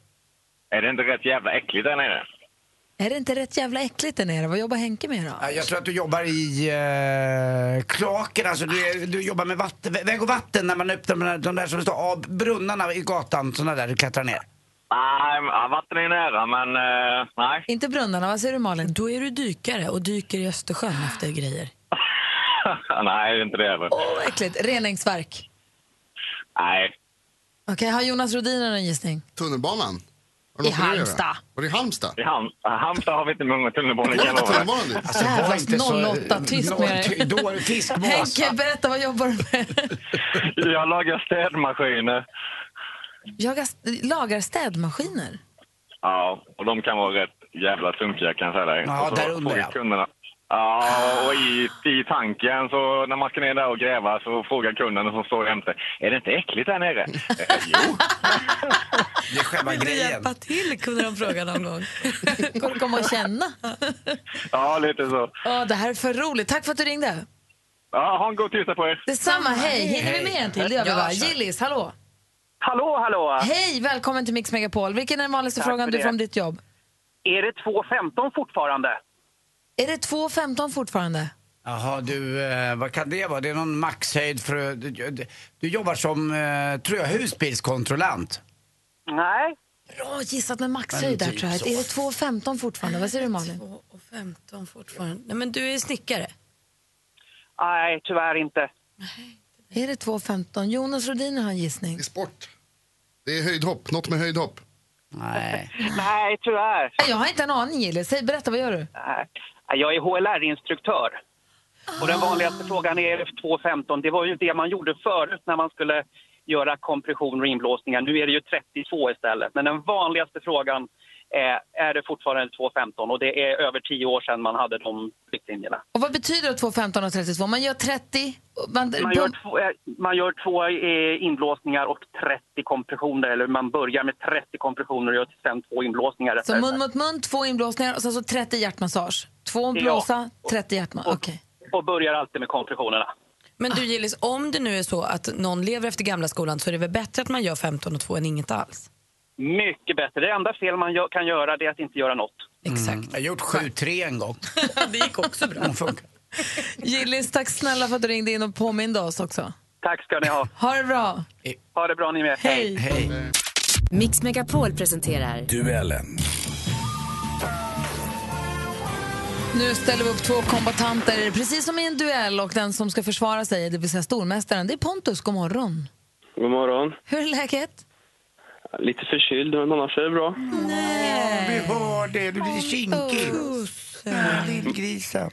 Är det inte rätt jävla äckligt där nere?
Är det inte rätt jävla äckligt där nere? Vad jobbar Henke med då?
Jag tror att du jobbar i eh, kloaken, alltså du, är- du jobbar med vatten, vä- väg och vatten när man öppnar de där, de där som det står av brunnarna i gatan, sådana där du klättrar ner.
Nej, ja, vatten är nära, men eh, nej.
Inte brunnarna, vad säger du Malin?
Då är du dykare och dyker i Östersjön efter grejer.
nej, det är inte det heller.
Vad Äckligt. Reningsverk.
Nej.
Okej, har Jonas Rodiner någon gissning?
Tunnelbanan? Har
I
de något med det att
Halmstad.
göra? Var det i Halmstad?
I Halm, Halmstad har vi inte många tunnelbanor, kan jag lova.
Tunnelbanan dit?
Alltså, var
Jävlas
inte så-
08, tyst med dig.
Då är det fiskmås.
Henke, berätta, vad jobbar du med?
Jag lagar städmaskiner.
Jag gas- lagar städmaskiner.
Ja, och de kan vara rätt jävla sunkiga kan jag säga dig.
Ja,
Och så
där under,
frågar
ja. Ah.
kunderna. Ja, och i, i tanken så när man ska ner där och gräva så frågar kunden som står jämte. Är det inte äckligt där nere? Eh, jo.
Det är själva grejen.
Hjälpa till kunde de fråga någon gång.
Går det komma och känna?
Ja, lite så.
Åh, det här är för roligt. Tack för att du ringde.
Ja, ha en god tisdag på er.
Detsamma, hej. Hinner vi
Hej.
med en till? Det gör vi
Ja,
va?
kör.
Gillis, hallå.
Hallå, hallå!
Hej, välkommen till Mix Megapol. Vilken är den vanligaste
Tack
frågan
för
du
det.
får om ditt jobb?
Är det 2.15 fortfarande?
Är det 2.15 fortfarande?
Jaha, du, eh, vad kan det vara? Det är någon maxhöjd för... Du, du, du jobbar som, eh, tror jag, husbilskontrollant.
Nej.
Bra gissat med maxhöjd
Men
där
typ
tror jag.
så.
Är det 2.15 fortfarande? Vad säger du Malin?
15 fortfarande. Nej, men du är snickare.
Nej, tyvärr inte.
Är det 2.15? Jonas Rhodiner har en gissning. Det är
sport. Det är höjdhopp, något med höjdhopp.
Nej.
Nej, tyvärr.
Jag har inte en aning Gillis. Säg, berätta, vad gör du?
Nej. Jag är HLR-instruktör. Och den vanligaste frågan är 2.15. Det var ju det man gjorde förut när man skulle göra kompression och inblåsningar. Nu är det ju 32 istället. Men den vanligaste frågan är, är det fortfarande 2.15? Och det är över 10 år sedan man hade de riktlinjerna.
Och vad betyder 2.15 och 32? Man gör 30... och Man,
Man gör, två, eh, man gör två eh, inblåsningar och 30 kompressioner. Eller man börjar med 30 kompressioner och gör sen två inblåsningar.
Så mun mot mun, två inblåsningar och sen så 30 hjärtmassage. Två om
Ja.
blåsa, 30 hjärtmassage. Okej.
Och börjar alltid med kompressionerna.
Men du Gillis, om det nu är så att någon lever efter gamla skolan så är det väl bättre att man gör 15 och 2 än inget alls?
Mycket bättre. Det enda fel man gö- kan göra det är att inte göra något.
Mm. Jag har gjort 7-3 en gång.
det gick också bra.
Gillis, tack snälla för att du ringde in och påminde oss också.
Tack ska ni ha.
Ha det bra.
Ha det bra ni med.
Hej.
Hej.
Mix Megapol presenterar...
Duellen.
Nu ställer vi upp två kombatanter, precis som i en duell. Och den som ska försvara sig, det vill säga stormästaren, det är Pontus. God morgon.
God morgon.
Hur är läget?
Lite förkyld, men annars är det bra.
Vi hör det, du blir kinkig. Ja, Lillgrisen.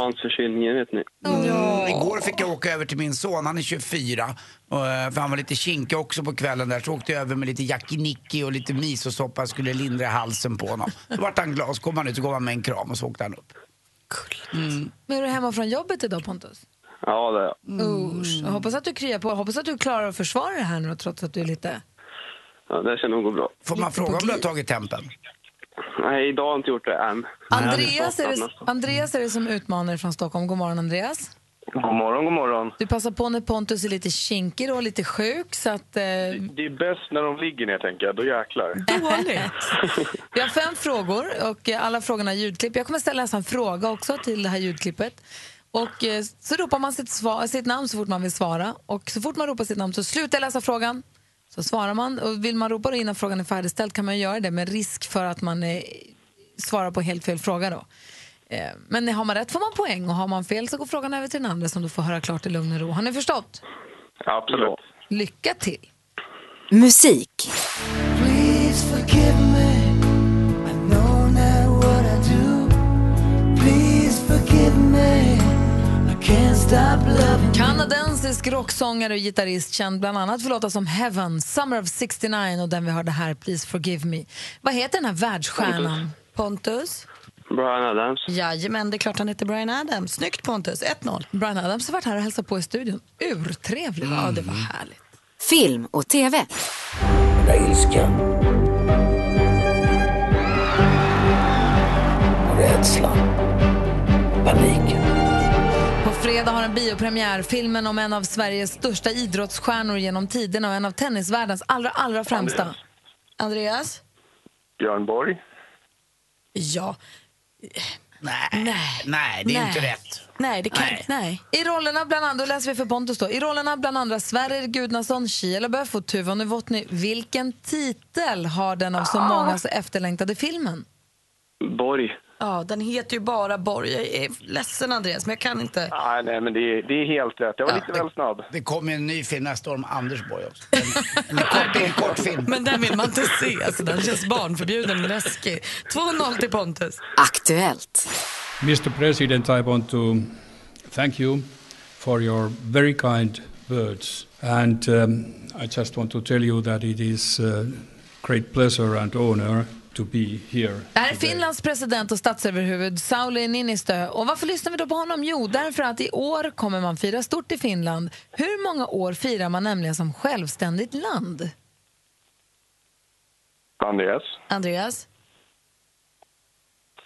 Mansförkylningen, vet ni.
Mm. Igår fick jag åka över till min son, han är 24. och, eh, För han var lite kinkig också på kvällen där. Så åkte jag över med lite yakiniku och lite misosoppa. Skulle lindra halsen på honom. Då vart han glad. Så kom han ut och gav han mig en kram och så åkte han upp.
Men är du hemma från jobbet idag, Pontus?
Ja, det är jag.
Usch. Jag hoppas att du kryar på. Jag Hoppas att du klarar att försvara det här nu, trots att du är lite...
ja, Det här ska nog gå bra.
Får man fråga om du har tagit tempen?
Nej, idag har jag inte gjort det än.
Andreas är, det, Andreas är det som utmanar från Stockholm. God morgon, Andreas.
God morgon, god morgon.
Du passar på när Pontus är lite kinkig och lite sjuk. Så att, eh,
Det är bäst när de ligger ner, tänker jag. Då jäklar.
vi har fem frågor och eh, alla frågorna är ljudklipp. Jag kommer ställa en sån fråga också till det här ljudklippet. Och eh, så ropar man sitt, sva- sitt namn så fort man vill svara. Och så fort man ropar sitt namn så slutar jag läsa frågan. Så svarar man. Och vill man ropa då innan frågan är färdigställd kan man göra det med risk för att man eh, svarar på helt fel fråga då. Eh, Men har man rätt får man poäng och har man fel så går frågan över till den andra som du får höra klart i lugn och ro. Har ni förstått?
Absolut.
Lycka till!
Musik.
Please forgive me. I know not what I do. Please forgive me. I can't stop loving.
Kanadensisk rocksångare och gitarrist känd bland annat för låtar som Heaven, Summer of 69 och den vi hörde här, Please Forgive Me. Vad heter den här världsstjärnan?
Pontus?
Brian Adams.
Jajamän, det är klart han heter Brian Adams. Snyggt Pontus, 1-0.
Brian Adams har varit här och hälsat på i studion. Urtrevlig. Ja, det
Mm.
var härligt.
Film och TV.
Där ilskan. Och rädslan. Paniken.
På fredag har en biopremiär filmen om en av Sveriges största idrottsstjärnor genom tiderna och en av tennisvärldens allra, allra främsta.
Andreas?
Björn Borg?
Ja.
Nej. Nej, det är inte rätt.
Nej, det kan
Nej.
nej.
I rollerna bland andra, då läser vi för Pontus då. I rollerna bland andra Sverrir Gudnason, Shia LaBeouf och Tuva Novotny. Vilken titel har den av så många så efterlängtade filmen?
Borg.
Ja, den heter ju bara Borg. Jag är ledsen Andreas, men jag kan inte.
Nej, nej, men det är, det är helt rätt. Jag var lite väl snabb.
Det kommer en ny film nästa år om Anders Borg också. En, en, kort, det är en kort film.
Men den vill man inte se, alltså, den känns barnförbjuden och läskig. 2-0 till Pontus.
Aktuellt.
Mr. President, I want to thank you for your very kind words. And um, I just want to tell you that it is a great pleasure and honor to be here.
Det här är Finlands president och statsöverhuvud Sauli Niinistö. Och varför lyssnar vi då på honom? Jo, därför att i år kommer man fira stort i Finland. Hur många år firar man nämligen som självständigt land?
Andreas?
Andreas?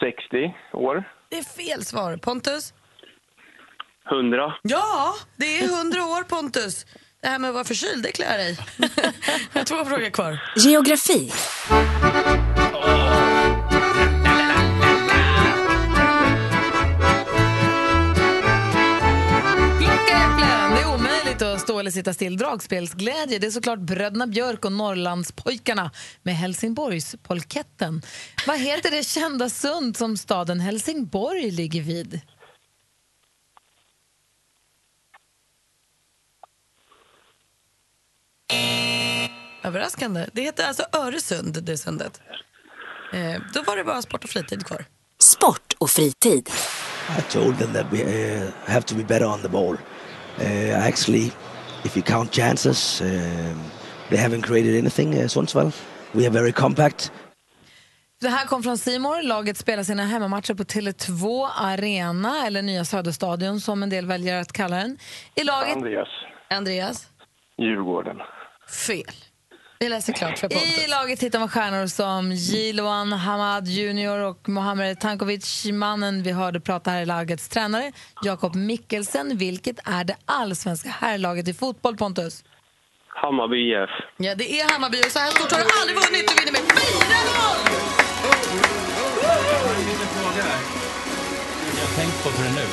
60 år.
Det är fel svar. Pontus?
100.
Ja, det är 100 år Pontus. Det här med att vara förkyld, det klär jag dig. Jag har två frågor kvar.
Geografi.
Plockäpplen! Det är omöjligt att stå eller sitta still. Dragspelsglädje, det är såklart Bröderna Björk och Norrlandspojkarna med Helsingborgspolketten. Vad heter det kända sund som staden Helsingborg ligger vid?
Överraskande. Det heter alltså Öresund, det sundet. Eh, då var det bara sport och fritid kvar.
Sport och fritid.
I told them that we uh, have to be better on the ball. Uh, actually, if you count chances, um, they haven't created anything, uh, Sundsvall. We are very compact.
Det här kom från Simor. Laget spelar sina hemmamatcher på Tele2 Arena, eller Nya Söderstadion som en del väljer att kalla den. I laget...
Andreas?
Andreas?
Djurgården.
Fel. Vi läser klart för Pontus.
I laget hittar man stjärnor som Jiloan Hamad Junior och Mohamed Tankovic, mannen vi hörde prata här i lagets tränare, Jakob Mikkelsen. Vilket är det allsvenska herrlaget i fotboll, Pontus?
Hammarby IF.
Ja, det är Hammarby och så här stort har du aldrig vunnit. Du vinner med 4-0!
Jag har tänkt på det nu.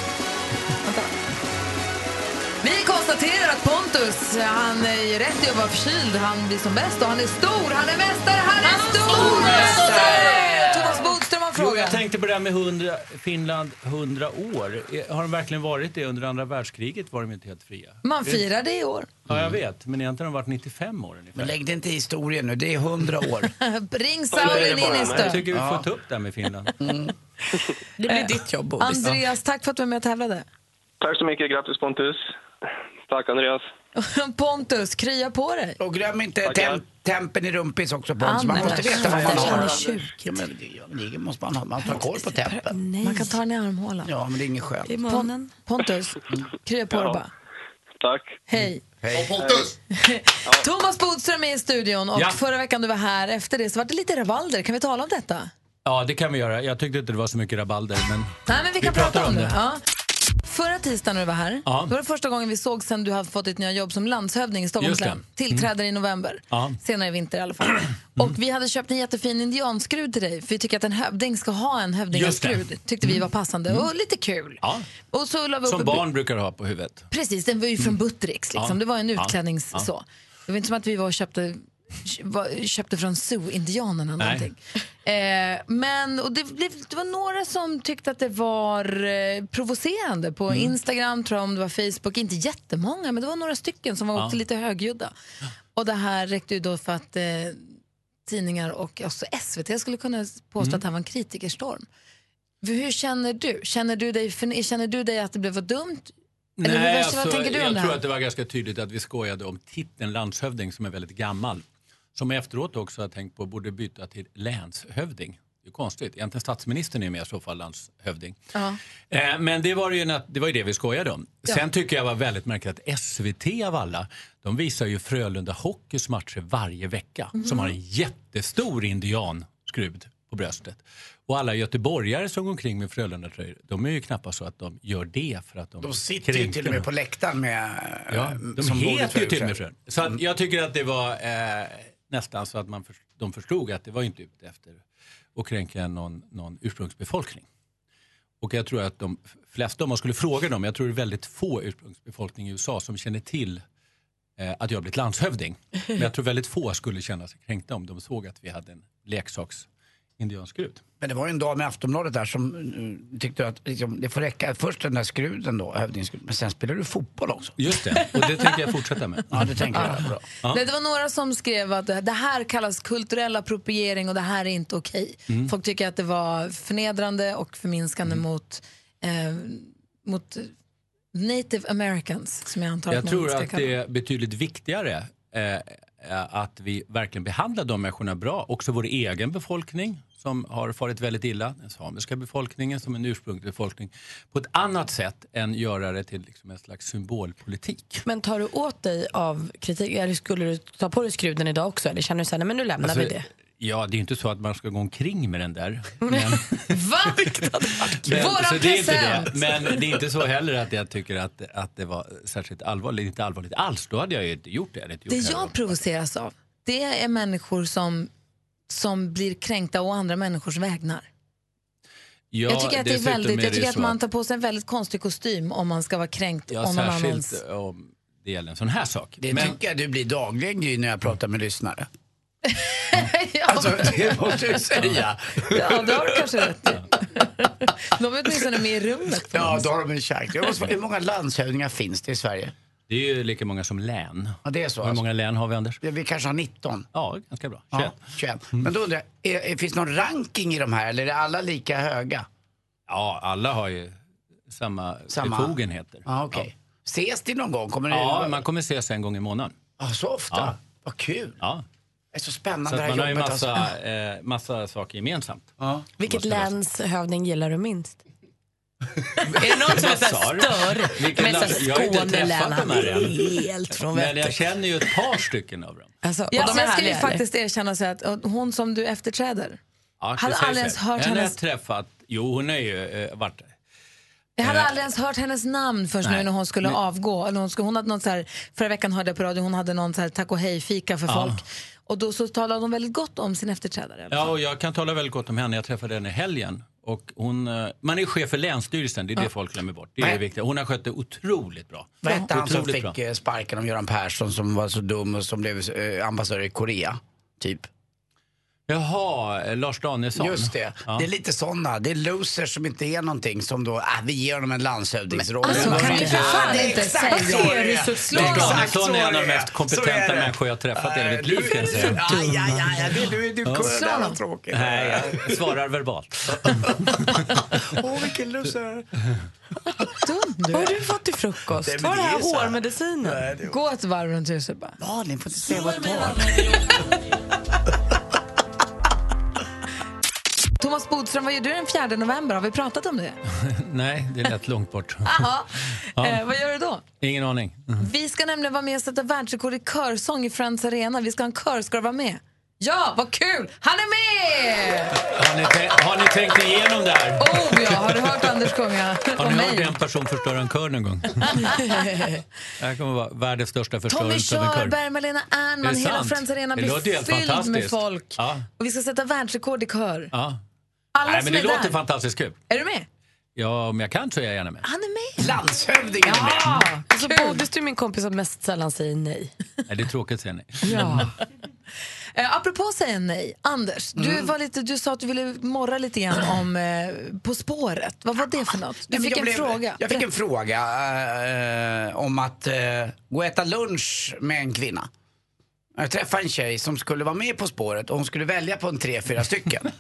Vi konstaterar att Pontus, han är ju rätt i att vara förkyld. Han blir som bäst och han är stor. Han är mästare, han är stormästare! Thomas Bodström har en
Jo,
fråga.
jag tänkte på det här med 100, Finland 100 år. Eh, Har de verkligen varit det? Under andra världskriget var de ju inte helt fria.
Man
Det-
firar det i år.
Ja, jag vet. Men egentligen har de varit 95 år ungefär.
Men lägg det inte i historien nu, det är hundra år.
Ring Sauli Niinistö.
Jag tycker vi får ta upp det här med Finland.
Det
blir ditt jobb,
Andreas, tack för att du var med och tävlade.
Tack så mycket. Grattis Pontus. Tack Andreas.
Pontus, krya på dig.
Och glöm inte tem tempen i rumpis också på
Ah,
så man
men
måste
vad
veta vad man
fan,
har.
han är
Ja, men det- ja, men det måste man ha, man tar koll på tempen.
Man kan ta den i armhålan.
Ja, men det är inget skönt.
Pon- Pontus, krya på
Ja.
dig bara.
Tack.
Hej.
Hej.
Thomas Bodström är i studion och
Ja.
förra veckan du var här efter det så var det lite rabalder. Kan vi tala om detta?
Ja, det kan vi göra. Jag tyckte inte det var så mycket rabalder, men...
Nej, men vi kan prata om det. Ja. Förra tisdagen när du var här,
Ja.
då var det första gången vi såg sen du har fått ditt nya jobb som landshövding i Stockholms
Just det. Mm.
län. Tillträder i november.
Ja.
Senare i vinter i alla fall. Och vi hade köpt en jättefin indianskrud till dig, för vi tycker att en hövding ska ha en
Just
hövdingaskrud.
det.
Tyckte vi var passande och lite kul.
Ja.
Och så la vi upp
Som
en
barn brukar ha på huvudet.
Precis, den var ju från Buttericks. Liksom.
Mm. Ja.
Det var en
Ja.
utklädnings...
Ja.
Så. Det var inte som att vi var och köpte, var- köpte från zoo-indianerna.
Nej.
någonting. Eh, men och det, blev, det var några som tyckte att det var eh, provocerande på
Mm.
Instagram, tror jag, om det var Facebook. Inte jättemånga, men det var några stycken som var
Ja.
också lite högljudda. Och det här räckte ju då för att eh, tidningar och också SVT skulle kunna påstå
Mm.
att det här var en kritikerstorm. Hur känner du? Känner du dig, för, känner du dig att det blev för dumt? Eller hur, vad, vad tänker
alltså,
du
jag
om det
tror
här?
att det var ganska tydligt att vi skojade om titeln landshövding som är väldigt gammal. Som efteråt också har tänkt på borde byta till länshövding. Det är konstigt. Egentligen statsministern är med i så fall landshövding.
Ja.
Eh, Men det var, ju, nat- det var ju det vi skojade om.
Ja.
Sen tycker jag var väldigt märkligt att SVT av alla, de visar ju Frölunda Hockeys matcher varje vecka.
Mhm.
Som har en jättestor indianskrud på bröstet. Och alla göteborgare som går omkring med Frölunda-tröjor, de är ju knappast så att de gör det för att de
De sitter ju till och
kränker
med på läktaren med...
Ja,
eh,
de
som bordet
heter
var
ju Mm. till och med
gjort.
Frön. Så att jag tycker att det var eh, nästan så att man för, de förstod att det var inte ute efter att kränka någon, någon ursprungsbefolkning. Och jag tror att de flesta, om man skulle fråga dem, jag tror det är väldigt få ursprungsbefolkning i USA som känner till eh, att jag blivit landshövding. Men jag tror väldigt få skulle känna sig kränkta om de såg att vi hade en leksaks indianskrut.
Men det var ju en dag med Aftonbladet där som mm, tyckte att liksom, det får räcka. Först den där skruden då, hövdingsskruden. Men sen spelar du fotboll också.
Just det, och det tänker jag fortsätta med.
Ja, det tänker jag. Bra.
Nej, det var några som skrev att det här kallas kulturell appropriering och det här är inte okej.
Mm.
Folk tycker att det var förnedrande och förminskande
Mm.
mot, eh, mot native americans, som jag antar
Jag
att
tror
man ska
att
kalla
det
dem.
är betydligt viktigare eh, eh, att vi verkligen behandlar de människorna bra. Också vår egen befolkning som har farit väldigt illa, den samiska befolkningen som en ursprungsbefolkning, på ett annat sätt än göra det till liksom en slags symbolpolitik.
Men tar du åt dig av kritik? Eller skulle du ta på dig skruden idag också? Eller känner du så här, nej men nu lämnar vi det?
Alltså, Ja, det är ju inte så att man ska gå omkring med den där. Men,
Våran
så det är inte
present!
det. Men det är inte så heller att jag tycker att, att det var särskilt allvarligt. Inte allvarligt alls, då hade jag ju inte gjort det. Jag hade inte gjort
Det
här.
jag provoceras av, det är människor som, som blir kränkta å andra människors vägnar.
Ja,
jag tycker att det är
dessutom
väldigt, jag
det
tycker
ju
att
så
man tar på sig en väldigt konstig kostym om man ska vara kränkt
Ja,
om någon annans...
särskilt om det gäller en sån här sak.
Det tycker jag du blir dagligen Gry, när jag pratar med lyssnare.
Alltså,
det måste jag ju säga.
Ja, det har du kanske rätt i. De är åtminstone med i rummet.
Ja, då har de en chans. Jag måste fråga, Hur många landshövdingar finns det i Sverige?
Det är ju lika många som län.
Ja, det är så.
Hur
alltså.
många län har vi, Anders?
Ja, vi kanske har 19.
Ja, ganska bra. Mm.
21. Men då undrar jag, är, är, finns det någon ranking i de här eller är alla lika höga?
Ja, alla har ju samma,
Samma.
befogenheter.
Ja, okej. Ses det någon gång? Kommer det
Ja, man kommer ses en gång i månaden.
Ja, så ofta?
Ja.
Vad kul.
Ja.
Det är så spännande
Så
det
att
här
man har ju
jobbet.
massa,
alltså.
eh, massa saker gemensamt.
Vilket läns hövding gillar du minst?
Är det någon
som är så här stör?
Vilken
Men så här
land- Jag har ju inte
Skånelän,
träffat
han
de här
är
än.
helt från
Men jag känner ju ett par stycken av dem.
Alltså,
Ja,
och de är
jag skulle ju
härliga, eller?
faktiskt erkänna så att och hon som du efterträder,
Ja, det
hade
säger
aldrig ens
sig.
hört
Henne har
hennes,
jag träffat. Jo, hon är ju eh, varit...
jag hade
Eh,
aldrig ens hört hennes namn först nu
Nej.
när hon skulle
Men-
avgå. Eller hon, skulle, hon hade någon så här, förra veckan hörde jag på radio, hon hade någon så här tack och hej-fika för
Ja.
folk. Och då så talade hon väldigt gott om sin efterträdare.
Ja, och jag kan tala väldigt gott om henne. Jag träffade henne i helgen. Och hon, eh, man är ju chef för Länsstyrelsen, det är det folk glömmer bort. Det är det viktiga. Hon har skött det otroligt bra.
Vad hette han som
Otroligt bra.
fick eh, sparken av Göran Persson som var så dum och som blev eh, ambassadör i Korea? Typ.
Jaha, eh, Lars Danielsson.
Just det.
Ja.
Det är lite sådana. Det är losers som inte är någonting som då, ah, vi ger honom en landshövdingsroll.
Men, alltså,
Men-
kan du för fan
Ja, det är
inte
exakt
säga.
så
Vad är du så
det
slå?
Lars
Exakt
Danielsson
så
är en av
det
de mest
Så
kompetenta
är det.
människor jag har träffat i hela mitt liv kan jag säga.
Aj, aj, aj, aj, du- du- du
Ja.
kunde det var tråkigt.
Nej, jag svarar verbalt.
Åh, vilken loser.
Dum du
Vad har
är.
du fått till frukost?
Nej,
Vad
men
är det här
det är så här.
hårmedicinen?
Gå ett varv runt huset bara.
Malin får inte se vad det tar.
Thomas Bodström, vad gör du den 4 november? Har vi pratat om det?
Nej, det lät långt bort.
Aha.
Ja.
Eh, vad gör du då?
Ingen aning.
Vi ska nämligen vara med och sätta världsrekord i körsång i Friends Arena. Vi ska ha en kör. Ska du vara med? Ja, vad kul! Han är med!
Har ni, tän- har ni tänkt igenom det här?
Oh ja, har du hört Anders sjunga
Har
om
ni hört
mig?
en person förstöra en kör någon gång? Det här kommer vara världens största
Tommy
förstörelse av en kör.
Körberg, Malena Ernman, hela Friends Arena
Det
blir
låter helt
fylld med
fantastiskt.
folk.
Ja,
Och vi ska sätta världsrekord i kör.
ja.
Alla
Nej,
som
men det
är
låter
där.
fantastiskt kul.
Är du med?
Ja, om jag kan så är jag gärna med.
Han är med!
Landshövdingen
ja,
Alltså, Bodis du är min kompis som mest sällan säger nej.
Nej, det är tråkigt säger ni.
Mm.
Ja. Eh, apropå att säga nej, Anders, du,
Mm.
var lite, du sa att du ville morra lite grann om eh, På spåret. Vad var det för något? Du
Ah, Nej, men
fick
jag
en
blev-
fråga.
Jag fick en fråga eh, om att eh, gå och äta lunch med en kvinna. Jag träffade en tjej som skulle vara med På spåret och hon skulle välja på en tre, fyra stycken.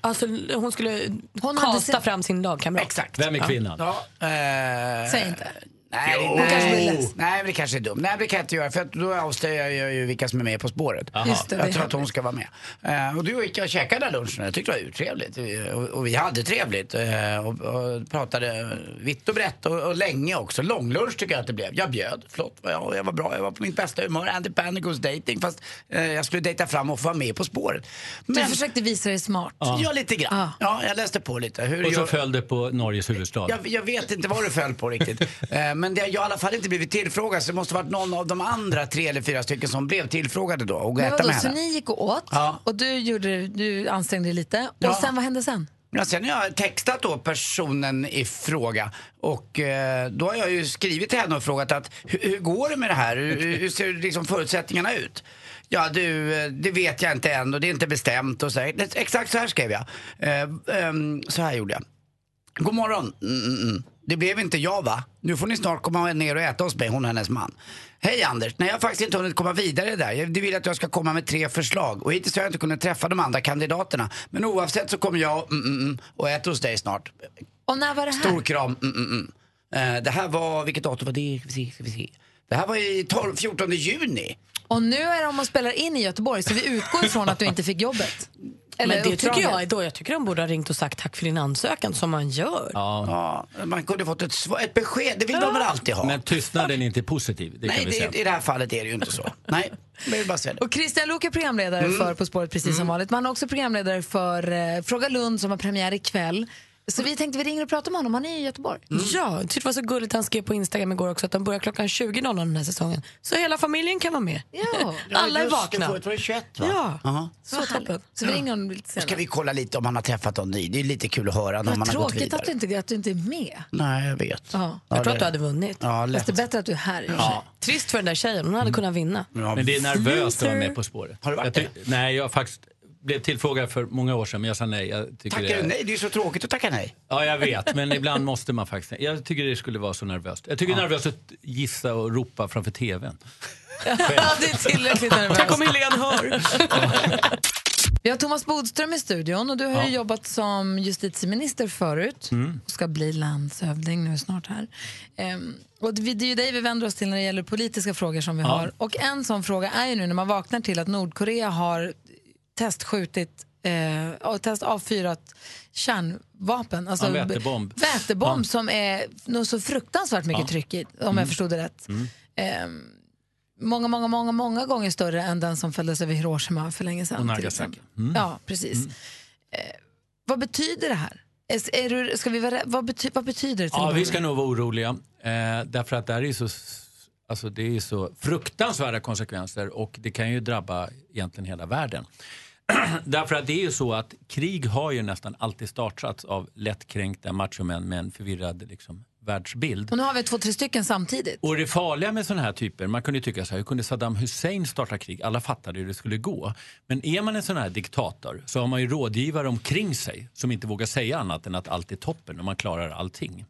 Alltså, hon skulle
hon
kasta
sin-
fram sin lagkamrat.
Exakt.
Vem är kvinnan?
Ja, eh,
Säg inte.
Nej,
Jo.
nej,
kanske blir ledsen.
nej, men det kanske är dumt. Nej, men det kan jag inte göra för att då avslöjar jag ju vilka som är med På spåret.
Aha. Just det, det
jag
är
tror att hon ska vara med. Eh, och då gick jag och käkade den här lunchen jag tyckte det var urtrevligt. Eh, Och, och vi hade trevligt eh, och, och pratade vitt och brett och, och länge också. Långlunch tycker jag att det blev. Jag bjöd, flott var jag och jag var bra, jag var på mitt bästa humör. Andy Panic goes dating fast eh, jag skulle dejta fram och få vara med På spåret.
Du försökte visa dig smart.
Ja. lite grann. Ja, jag läste på lite. Hur
Och så
gör-
föll det på Norges huvudstad.
jag, jag vet inte vad det föll på riktigt. Eh, Men det, jag har i alla fall inte blivit tillfrågad så det måste ha varit någon av de andra tre eller fyra stycken som blev tillfrågade då och
Men
äta
vadå,
med
så
henne.
ni gick och åt
Ja.
och du, gjorde, du ansträngde dig lite. Och
Ja.
sen, vad hände sen?
Ja, sen har jag textat då personen i fråga och eh, då har jag ju skrivit till henne och frågat att hur, hur går det med det här? Hur, hur ser liksom förutsättningarna ut? Ja du, eh, det vet jag inte än och det är inte bestämt och så här. Det- Exakt så här skrev jag. Eh, ehm, så här gjorde jag. God morgon. Mm, mm, mm. Det blev inte jag va? Nu får ni snart komma ner och äta hos mig, hon och hennes man. Hej Anders, nej jag har faktiskt inte hunnit komma vidare där. Jag du vill att jag ska komma med tre förslag och hittills har jag inte kunnat träffa de andra kandidaterna. Men oavsett så kommer jag mm, mm, mm, och äter hos dig snart.
Och när var det här?
Stor kram. Mm, mm, mm. Eh, Det här var, vilket datum var det? Ska vi se, ska vi se. Det här var i 12, 14 juni.
Och nu är de och spelar in i Göteborg så vi utgår ifrån att du inte fick jobbet. Eller
men det tycker
uppdraget.
jag är då. Jag tycker de borde ha ringt och sagt tack för din ansökan som man gör.
Ja. man kunde fått ett, svar- ett besked, det vill de väl alltid ha?
Men tystnaden är inte positiv, det
Nej,
kan vi säga.
det, i det här fallet är det ju inte så. Nej, jag vill bara säga det.
Och Christian Luuk är programledare
Mm.
för På spåret precis som vanligt. Men han är också programledare för eh, Fråga Lund som har premiär ikväll. Så vi tänkte vi ringer och pratar med honom, han är i Göteborg.
Mm.
Ja, jag tyckte det var så gulligt han skrev på Instagram igår också att de börjar klockan 20.00 den här säsongen. Så hela familjen kan vara med.
Ja.
Alla är
just det,
vakna.
förut var det 21 va?
Ja.
Jaha.
Så toppen. Så vi ringer honom lite
Då ska
senare.
vi kolla lite om han har träffat någon ny. Det är lite kul att höra när
Vad
man har gått
tråkigt
vidare.
att du, inte, att du inte är med.
Nej, jag vet.
Ja.
Ja, det-
vunnit.
Ja,
Fast
lätt. Mm.
det är bättre att du är här. i och för sig.
Ja.
Trist för den där tjejen, hon hade kunnat vinna.
Men det är nervöst att vara med På spåret.
Har du varit
jag ty- Nej, jag faktiskt blev tillfrågad för många år sedan men jag sa nej. Jag tycker
Tackar
det
du
är...
nej? Det är ju så tråkigt att tacka nej.
Ja, jag vet. Men ibland måste man faktiskt. Jag tycker det skulle vara så nervöst. Jag tycker det är nervöst att gissa och ropa framför TVn.
det är tillräckligt nervöst.
Tänk om Helene hör.
Vi har Thomas Bodström i studion och du har ju jobbat som justitieminister förut
Mm.
och ska bli landshövding nu snart här. Ehm, och det det är ju dig vi vänder oss till när det gäller politiska frågor som vi
Ja.
har. Och en sån fråga är ju nu när man vaknar till att Nordkorea har testskjutit eh, och test avfyrat kärnvapen. Alltså
En vätebomb.
Vätebomb
Ja.
som är nog så fruktansvärt mycket
Ja.
tryck i, om
Mm.
jag förstod det rätt.
Mm.
Ehm, många, många, många, många gånger större än den som fälldes över Hiroshima för länge sedan.
Och
till
Nagasaki.
exempel.
Mm.
Ja, precis. Eh, vad betyder det här? Är, är du, ska vi vara, rä- vad, bety, vad betyder det till
Ja,
att
vi
börja
ska
med?
nog vara oroliga. Eh, därför att det här är ju så, alltså det är ju så fruktansvärda konsekvenser och det kan ju drabba egentligen hela världen. därför att det är ju så att krig har ju nästan alltid startats av lättkränkta machomän med en förvirrad liksom, världsbild.
Och nu har vi två, tre stycken samtidigt.
Och det farliga med sådana här typer, man kunde ju tycka så här, hur kunde Saddam Hussein starta krig? Alla fattade hur det skulle gå. Men är man en sån här diktator så har man ju rådgivare omkring sig som inte vågar säga annat än att allt är toppen och man klarar allting.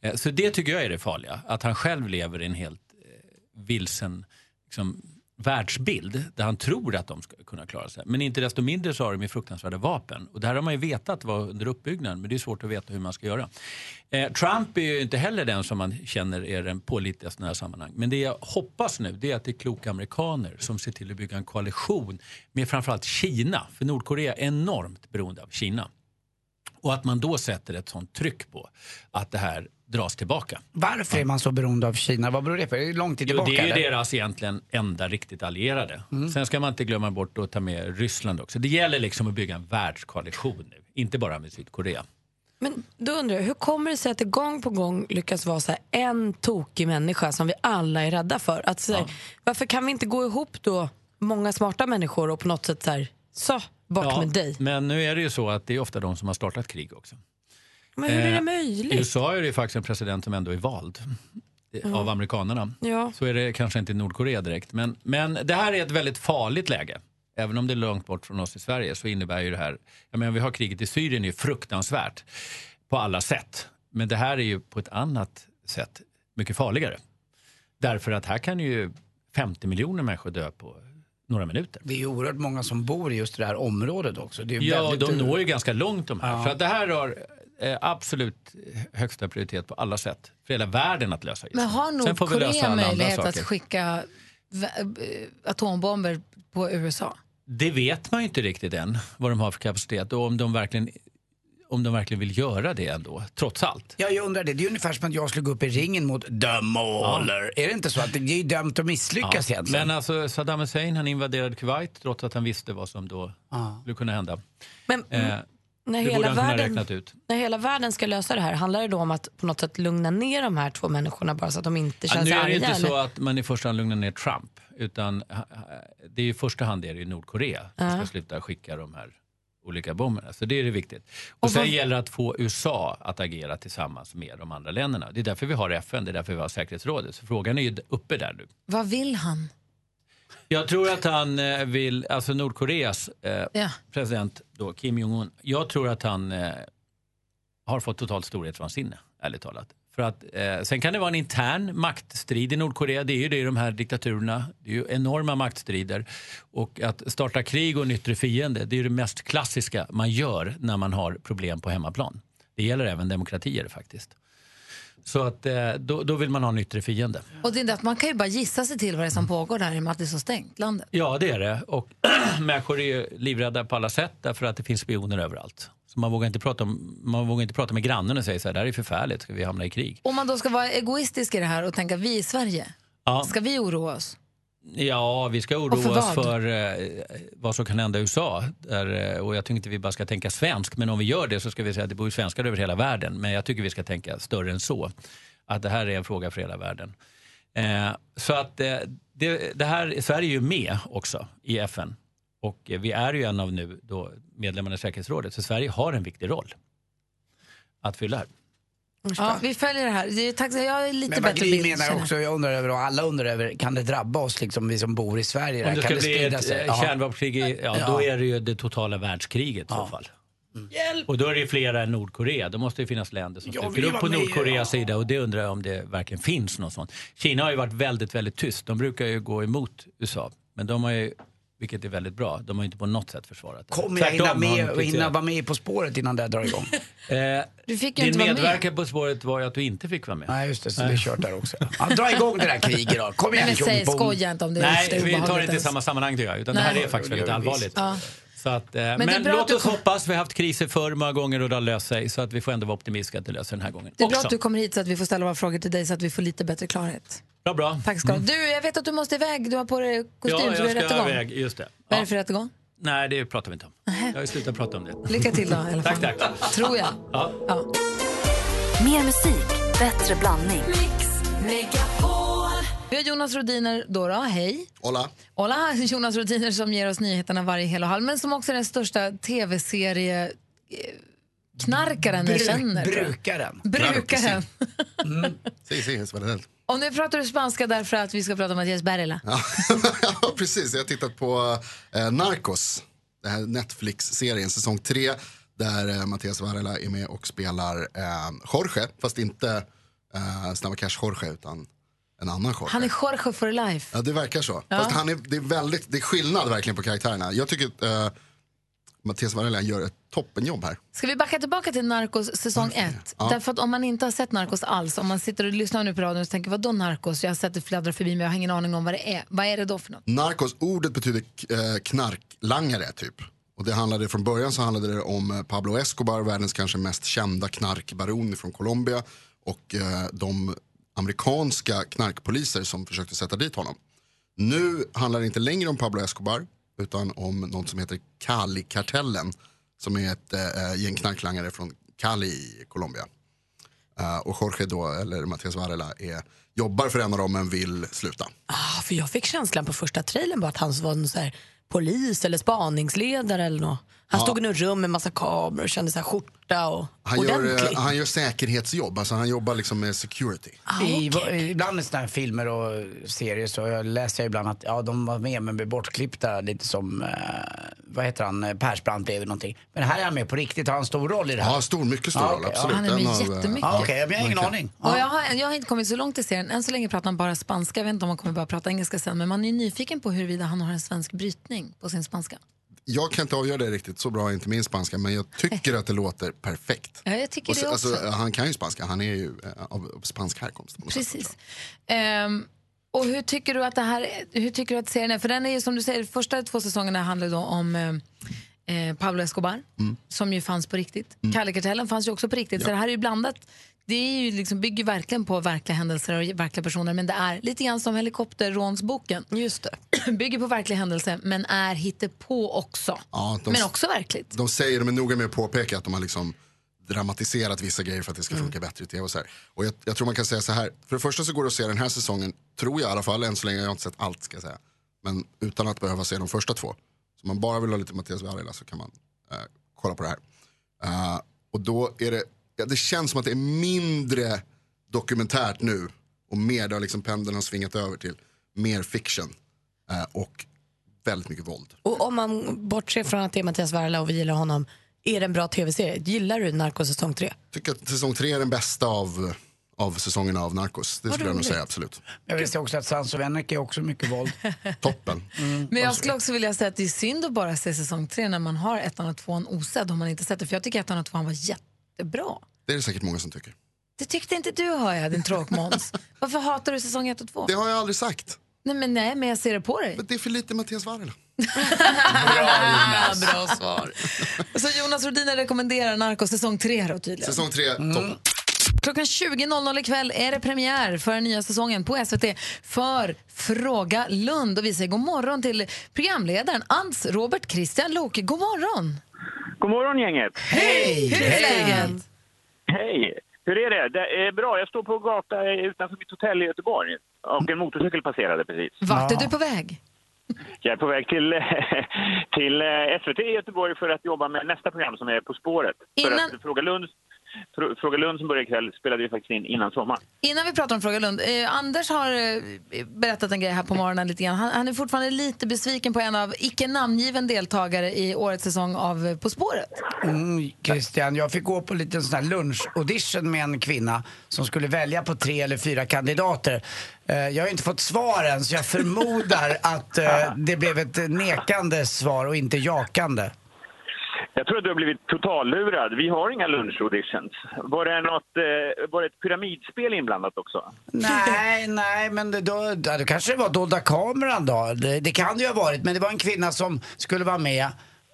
Eh, Så det tycker jag är det farliga, att han själv lever i en helt eh, vilsen liksom, världsbild där han tror att de ska kunna klara sig. Men inte desto mindre så har de ju fruktansvärda vapen. Och det här har man ju vetat var under uppbyggnaden men det är svårt att veta hur man ska göra. Eh, Trump är ju inte heller den som man känner är den pålitligaste i den här sammanhang. Men det jag hoppas nu det är att det är kloka amerikaner som ser till att bygga en koalition med framförallt Kina. För Nordkorea är enormt beroende av Kina. Och att man då sätter ett sånt tryck på att det här dras tillbaka.
Varför är man så beroende av Kina? Vad beror det på? Är det långt
Jo,
tillbaka?
det är ju
eller?
deras egentligen enda riktigt allierade.
Mm.
Sen ska man inte glömma bort att ta med Ryssland också. Det gäller liksom att bygga en världskoalition nu, inte bara med Sydkorea.
Men då undrar jag, hur kommer det sig att det gång på gång lyckas vara så här en tokig människa som vi alla är rädda för? Att, så här, Varför kan vi inte gå ihop då, många smarta människor och på något sätt så, här, så bort
Ja,
med dig?
Men nu är det ju så att det är ofta de som har startat krig också.
Men hur är det
Eh, I
möjligt?
USA är det ju faktiskt en president som ändå är vald eh,
Ja.
av amerikanerna.
Ja.
Så är det kanske inte i Nordkorea direkt. Men, men det här är ett väldigt farligt läge. Även om det är långt bort från oss i Sverige så innebär ju det här... Jag menar, vi har kriget i Syrien, det är ju fruktansvärt på alla sätt. Men det här är ju på ett annat sätt mycket farligare. Därför att här kan ju 50 miljoner människor dö på några minuter.
Det är ju oerhört många som bor i just det här området också. Det är ju
Ja,
väldigt- eh,
de når ju ganska långt de här.
Ja.
För att det här har eh, absolut högsta prioritet på alla sätt. För hela världen att lösa just
Men
nu.
har
Sen får vi lösa
Nordkorea
alla andra
möjlighet att
saker.
skicka vä- eh, atombomber på USA?
Det vet man ju inte riktigt än, vad de har för kapacitet och om de verkligen, om de verkligen vill göra det ändå, trots allt.
Ja, jag undrar det. Det är ungefär som att jag slog upp i ringen mot The Mauler. Är det inte så att det det är ju dömt att misslyckas
Ja.
egentligen?
Men alltså Saddam Hussein han invaderade Kuwait trots att han visste vad som då skulle kunna hända.
Men,
Eh,
när
det borde
hela
han kunna
världen-
räknat ut.
När hela världen ska lösa det här, handlar det då om att på något sätt lugna ner de här två människorna bara så att de inte
Ja,
känns
nu är det ju
arga?
inte så
eller?
att man i första hand lugnar ner Trump. Utan eh, det är i första hand är det ju Nordkorea som
Ja.
ska sluta skicka de här olika bomberna. Så det är det viktigt. Och, sen gäller det att få USA att agera tillsammans med de andra länderna. Det är därför vi har FN, det är därför vi har säkerhetsrådet. Så frågan är ju uppe där nu.
Vad vill han?
Jag tror att han eh, vill, alltså Nordkoreas eh,
Ja.
president då, Kim Jong-Un, jag tror att han eh, har fått totalt storhetsvansinne, ärligt talat. För att, eh, sen kan det vara en intern maktstrid i Nordkorea, det är ju det i de här diktaturerna. Det är ju enorma maktstrider. Och att starta krig och en yttre fiende, det är ju det mest klassiska man gör när man har problem på hemmaplan. Det gäller även demokratier faktiskt. Så att eh, då, då vill man ha en yttre fiende.
Och det är inte att man kan ju bara gissa sig till vad det är som pågår där i och med att det är så stängt, landet.
Ja, det är det. Och människor är ju livrädda på alla sätt därför att det finns spioner överallt. Så man vågar inte prata, om, man vågar inte prata med grannen och säga så här, det här är förfärligt, ska vi hamna i krig?
Om man då ska vara egoistisk i det här och tänka vi i Sverige,
Ja,
ska vi oroa oss?
ja vi ska
Och för
oroa oss
vad?
för eh, vad som kan hända i USA. Där, eh, och jag tycker inte vi bara ska tänka svensk, men om vi gör det så ska vi säga att det bor ju svenskar över hela världen. Men jag tycker vi ska tänka större än så. Att det här är en fråga för hela världen. Eh, så att eh, det, det här, Sverige är ju med också i FN. Och eh, vi är ju en av nu då medlemmarna i säkerhetsrådet. Så Sverige har en viktig roll att fylla här.
Ja, vi följer det här. Det är, tack, jag är lite
Men vad
bättre
Gry
bild.
menar
känner jag.
också, jag undrar över och alla undrar över, kan det drabba oss liksom, vi som bor i Sverige?
Om det
kan
ska bli
sprida
ett
sig?
eh, kärnvapenkrig, i- ja,
Ja. Mm.
då är det ju det totala världskriget i så fall. Och då är det ju flera än Nordkorea. Då måste det finnas länder som
Jag
dyker
vill
upp på
vara med,
Nordkoreas sida och det undrar jag om det verkligen finns något sånt. Kina har ju varit väldigt, väldigt tyst. De brukar ju gå emot USA. Men de har ju, vilket är väldigt bra, de har ju inte på något sätt försvarat det.
Kommer jag
Tvärtom
hinna,
har de
med, och
kritiserat.
hinna vara med På spåret innan det här drar igång?
Eh,
Du fick ju
din
inte vara med.
medverkan På spåret var ju att du inte fick vara med.
Nej, just det. Så
Nej.
det är kört där också. Ja, dra igång det där kriget då. Kom igen,
Nej, men säg,
tjongbom.
skoja inte om det.
Nej,
Usch, det är
vi tar det
obehagligt
inte i
ens.
samma sammanhang tycker jag. Utan
Nej.
det här är faktiskt väldigt allvarligt.
Ja.
Så att, eh, men
det är bra att
låt
du
oss
kom-
hoppas. Vi har haft kriser förr många gånger och det har löst sig. Så att vi får ändå vara optimistiska att det löser den här gången
Det är bra
också.
att du kommer hit så att vi får ställa våra frågor till dig så att vi får lite bättre klarhet.
Bra, bra. Mm.
Tack ska du ha. Du, jag vet att du måste iväg. Du har på dig kostym
Ja,
för du är
jag ska
rättegång.
iväg. Just det.
Vad är det för rättegång?
Nej, det pratar vi inte om. Jag har ju slutat prata om det.
Lycka till då i alla fall.
Tack, tack.
Tror jag.
Ja.
Mer musik, bättre blandning.
Vi har Jonas Rodiner då, då. hej.
Hola.
Hola, Jonas Rodiner som ger oss nyheterna varje hel och halv, men som också är den största tv-serie eh, knarkaren vi
Bruk-
känner. tror jag.
brukaren.
Brukaren. Mm.
Sí, sí, es verdad.
Och nu pratar du spanska därför att vi ska prata om Mattias Bergela.
Ja, ja, precis. Jag har tittat på eh, Narcos, den här Netflix-serien, säsong tre där eh, Mattias Varela är med och spelar eh, Jorge, fast inte eh, Snabba Cash-Jorge, utan en annan Jorge.
Han är Jorge for life.
Ja, det verkar så.
Ja.
Fast han är, det, är väldigt, det är skillnad verkligen på karaktärerna. Jag tycker att eh, Mattias Varela gör ett toppenjobb här.
Ska vi backa tillbaka till Narcos säsong 1?
Ja.
Därför att om man inte har sett Narcos alls, om man sitter och lyssnar nu på radion och tänker vad då Narcos? Jag har sett det fladdra förbi men jag har ingen aning om vad det är. Vad är det då för något?
Narcos, ordet betyder eh, knarklangare typ. Och det handlade, från början så handlade det om eh, Pablo Escobar, världens kanske mest kända knarkbaron från Colombia. och eh, de amerikanska knarkpoliser som försökte sätta dit honom. Nu handlar det inte längre om Pablo Escobar utan om något som heter Cali-kartellen som är ett eh, gäng knarklangare från Cali i Colombia. Eh, och Jorge då, eller Mattias Varela, är, jobbar för en av dem men vill sluta.
Ah, för jag fick känslan på första trailern bara att han var en så här polis eller spaningsledare eller något. Han
Ja.
stod i något rum med massa kameror och kände så här skjorta och
Han
ordentlig.
gör, eh, han gör säkerhetsjobb, alltså han jobbar liksom med security.
I, ibland i såna här filmer och serier så jag läser jag ibland att ja, de var med men blev bortklippta lite som, eh, vad heter han, eh, Persbrandt blev någonting. Men här är han med på riktigt, har han stor roll i det här?
Ja, stor, mycket stor roll,
okej,
absolut. Han är med En av, eh,
jättemycket.
Ja, okej, men jag har ingen
verkligen.
aning.
Och jag, har, jag har inte kommit så långt i serien. Än så länge pratar han bara spanska. Jag vet inte om han kommer börja prata engelska sen. Men man är ju nyfiken på huruvida han har en svensk brytning på sin spanska.
Jag kan inte avgöra det riktigt, så bra är inte min spanska, men jag tycker att det låter perfekt.
Ja, jag tycker
Och så,
det också.
alltså, han kan ju spanska, han är ju eh, av, av spansk härkomst.
Precis. Ehm, och hur tycker du att det här, hur tycker du att serien är? För den är ju som du säger, de första två säsongerna handlar då om eh, eh, Pablo Escobar, som ju fanns på riktigt. Mm. Kallekartellen fanns ju också på riktigt, så
Ja.
det här är ju blandat. Det är ju liksom, bygger ju verkligen på verkliga händelser och verkliga personer, men det är lite grann som helikopterrånsboken.
Just
det. bygger på verkliga händelser, men är hittepå också.
Ja, de,
Men också verkligt.
de säger, de är noga med att påpeka att de har liksom dramatiserat vissa grejer för att det ska funka bättre i tv. Och, så här. och jag, jag tror man kan säga så här, för det första så går det att se den här säsongen, tror jag i alla fall, än så länge, jag har inte sett allt ska jag säga, men utan att behöva se de första två. Så om man bara vill ha lite Mattias Varela så kan man eh, kolla på det här. Eh, och då är det, ja, det känns som att det är mindre dokumentärt nu och mer, där liksom pendeln har svingat över till mer fiction eh, och väldigt mycket våld.
Och om man bortser från att det är Mattias Varela och vi gillar honom, är det en bra tv-serie? Gillar du Narcos säsong 3?
tycker att säsong tre är den bästa av, av säsongerna av Narcos. Det
Vad
skulle jag nog
roligt.
säga absolut.
Jag vill se också att Sans och Venek är också mycket våld. Mm.
Toppen.
Men jag skulle också vilja säga att det är synd att bara se säsong tre när man har ettan och tvåan osedd om man inte sett det. För jag tycker att ettan och tvåan var jättebra.
Det är det säkert många som tycker.
Det tyckte inte du hör jag, din tråkmåns. Varför hatar du säsong ett och två?
Det har jag aldrig sagt.
Nej men, nej, men jag ser det på dig.
Men det är för lite Mattias Varela.
Jonas. Ah, Bra svar. Så Jonas Rhodiner rekommenderar Narcos säsong tre då tydligen.
Säsong tre, toppen.
Klockan 20.00 ikväll är det premiär för den nya säsongen på SVT för Fråga Lund. Och vi säger god morgon till programledaren Ans Robert Christian Lok. God morgon!
God morgon gänget!
Hej!
Hur är
läget?
Hej! Hur är det? Det är bra. Jag står på gata utanför mitt hotell i Göteborg och en motorcykel passerade precis.
Vart är du på väg?
Jag är på väg till, till eh, SVT i Göteborg för att jobba med nästa program som är På spåret. För
Innan-
att Fråga Lund, Fr- Fråga Lund som börjar ikväll spelade vi faktiskt in innan sommaren.
Innan vi pratar om Fråga Lund. Eh, Anders har eh, berättat en grej här på morgonen lite grann. Han, han är fortfarande lite besviken på en av icke namngiven deltagare i årets säsong av eh, På spåret.
Mm, Christian, jag fick gå på en liten sån här lunchaudition med en kvinna som skulle välja på tre eller fyra kandidater. Eh, Jag har inte fått svar än, så jag förmodar att eh, det blev ett nekande svar och inte jakande.
Jag tror att du har blivit totallurad. Vi har inga lunchauditions. Var det, något, eh, var det ett pyramidspel inblandat också?
Nej, nej, men det, då, ja, det kanske var dolda kameran då. Det, det kan det ju ha varit, men det var en kvinna som skulle vara med.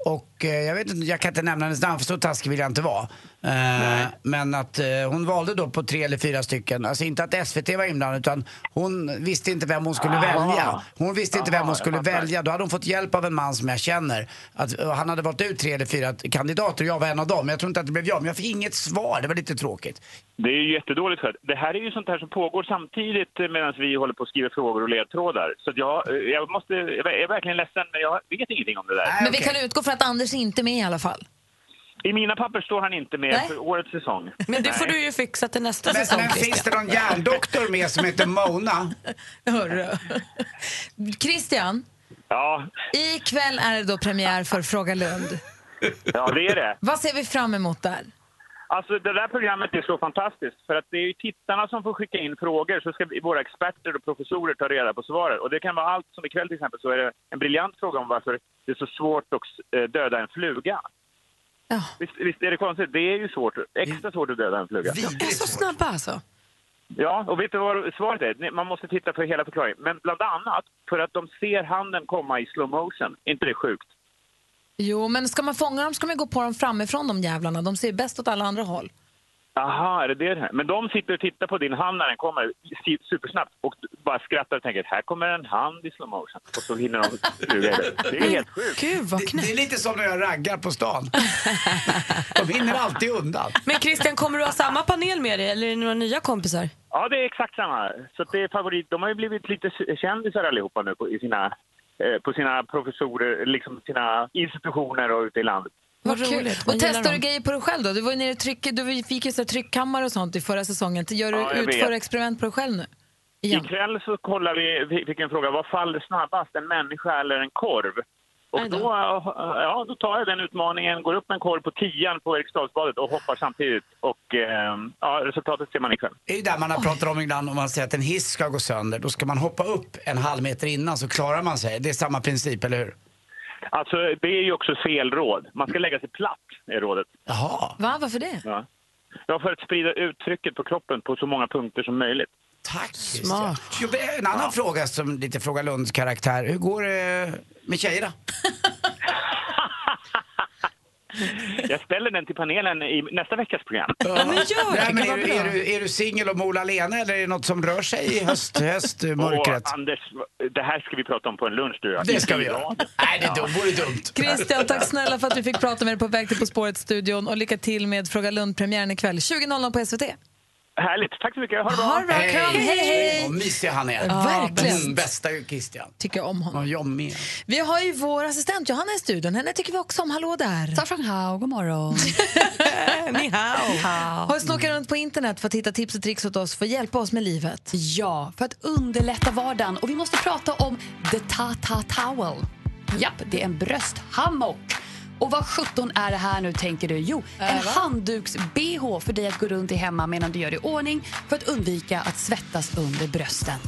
Och eh, jag vet inte, jag kan inte nämna hennes namn för så taskig vill jag inte vara. Eh, men att eh, hon valde då på tre eller fyra stycken. Alltså inte att SVT var inblandad utan hon visste inte vem hon skulle
Ah.
välja. Hon visste inte vem
Aha,
hon
jag
skulle
fattar.
välja. Då hade hon fått hjälp av en man som jag känner. Att, och han hade valt ut tre eller fyra kandidater och jag var en av dem. Men jag tror inte att det blev jag. Men jag fick inget svar, det var lite tråkigt.
Det är ju jättedåligt skött. Det här är ju sånt här som pågår samtidigt medan vi håller på att skriva frågor och ledtrådar. Så att jag, eh, jag, måste, jag är verkligen ledsen, men jag vet ingenting om det där.
Men vi kan utgå från att Anders är inte är med i alla fall.
Ah, I mina papper står han inte med
Nej.
för årets säsong.
Men det
Nej.
får du ju fixa till nästa
Men,
säsong
men finns det
Christian.
någon hjärndoktor med som heter Mona?
Hörru. Christian,
Ja.
ikväll är det då premiär för Fråga Lund.
ja, det är det.
Vad ser vi fram emot där?
Alltså det där programmet är så fantastiskt för att det är ju tittarna som får skicka in frågor så ska vi, våra experter och professorer ta reda på svaret. Och det kan vara allt som ikväll till exempel så är det en briljant fråga om varför det är så svårt att eh, döda en fluga. Visst, visst är det konstigt? Det är ju svårt, extra svårt att döda en fluga.
Vi är så snabba alltså.
Ja, och vet du vad svaret är? Nej, Man måste titta på hela förklaringen. Men bland annat för att de ser handen komma i slow motion. Är inte det sjukt?
Jo, men ska man fånga dem ska man gå på dem framifrån de jävlarna. De ser bäst åt alla andra håll.
Aha, är det det det här? Men de sitter och tittar på din hand när den kommer si- supersnabbt och bara skrattar och tänker här kommer en hand i slow motion. Och så hinner de suga i det. Det är helt sjukt.
Gud, vad
det, det är lite som när jag raggar på stan. De hinner alltid undan.
Men Christian, kommer du ha samma panel med dig eller är det några nya kompisar?
Ja, det är exakt samma. Så att det är favorit. De har ju blivit lite kändisar allihopa nu på, i sina, eh, på sina professorer, liksom sina institutioner och ute i landet.
Vad kul. Och testar du grejer på dig själv då? Du var ju nere och tryckte, du fick ju så här tryckkammare och sånt i förra säsongen. Gör du,
Ja, jag
utför
vet.
experiment på dig själv nu?
Ikväll så kollar vi, vi fick en fråga, vad faller snabbast, en människa eller en korv? Och då, ja, då tar jag den utmaningen, går upp med en korv på tian på Eriksdalsbadet och hoppar samtidigt. Och eh, ja, resultatet ser man ikväll.
Det är ju där man har pratat om ibland om man säger att en hiss ska gå sönder. Då ska man hoppa upp en halv meter innan så klarar man sig. Det är samma princip, eller hur?
Alltså, det är ju också fel råd. Man ska lägga sig platt, är rådet.
Jaha.
Va, varför det?
Ja. Ja, för att sprida uttrycket på kroppen på så många punkter som möjligt.
Tack! Smart. Jo, men en annan
Ja.
fråga som lite Fråga Lunds karaktär. Hur går det med tjejerna?
Jag ställer den till panelen i nästa veckas program.
Nej, men är, du, är, du, är du singel och mol alena eller är det något som rör sig i höst, höst mörkret?
Åh, Anders, det här ska vi prata om på en lunch du och jag.
Det ska vi göra. Nej, det då vore dumt.
Christian, tack snälla för att vi fick prata med dig på väg till På spåret-studion och lycka till med Fråga Lund-premiären ikväll 20.00 på SVT.
Härligt, tack så mycket. Ha det bra.
Ha det bra, kram. Hej, hej.
Vad mysig han är.
Ja, verkligen.
Mm, Bästa Christian.
Tycker om honom.
Ja, jag med.
Vi har ju vår assistent Johanna i studion. Henne tycker vi också om. Hallå där! Saffran Hao, god morgon.
Eh,
Ni hao. Har du snokat runt på internet för att hitta tips och tricks åt oss för att hjälpa oss med livet?
Ja, för att underlätta vardagen. Och vi måste prata om the Tata Towel. Japp, det är en brösthammock. Och vad sjutton är det här nu tänker du? Jo,
Äh,
en handduks-bh för dig att gå runt i hemma medan du gör i ordning för att undvika att svettas under brösten.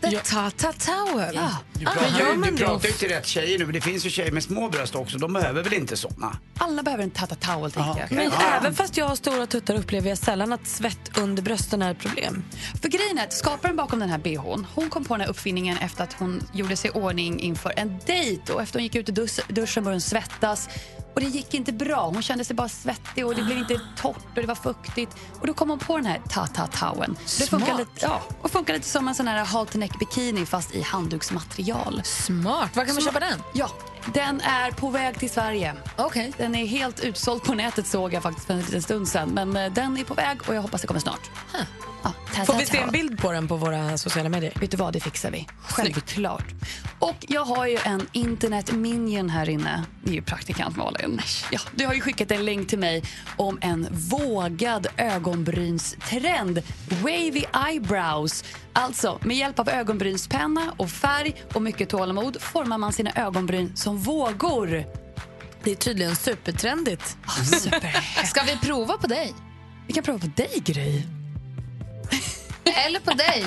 The Tata Towel?
Ja.
Du
Ah,
Ah,
pratar, ju, du pratar ju till rätt tjejer nu, men det finns ju tjejer med små bröst också. De behöver väl inte såna?
Alla behöver en Tata Towel
tänker jag.
Men
Ah.
Ja.
även fast jag har stora tuttar upplever jag sällan att svett under brösten är ett problem.
För grejen är att skaparen bakom den här bhn, hon kom på den här uppfinningen efter att hon gjorde sig i ordning inför en dejt och efter hon gick ut i dus- duschen började hon svettas och det gick inte bra. Hon kände sig bara svettig och det blev inte torrt och det var fuktigt och då kom hon på den här tata-tauen. Det funkar
Smart.
lite, ja, och funkar lite som en sån här halterneck bikini fast i handduksmaterial.
Smart. Var kan man köpa den?
Ja, den är på väg till Sverige.
Okay.
Den är helt utsåld på nätet såg jag faktiskt för en liten stund sedan. Men eh, den är på väg och jag hoppas det kommer snart.
Får vi se en bild på den på våra sociala medier?
Vet du vad, det fixar vi. Självklart. Och jag har ju en internet-minion här inne. Det är ju praktikant Malin. Ja, du har ju skickat en länk till mig om en vågad ögonbrynstrend. Wavy eyebrows. Alltså, med hjälp av ögonbrynspenna och färg och mycket tålamod formar man sina ögonbryn som vågor.
Det är tydligen supertrendigt.
Ska
vi prova på dig?
Vi kan prova på dig, Gry.
Eller på dig.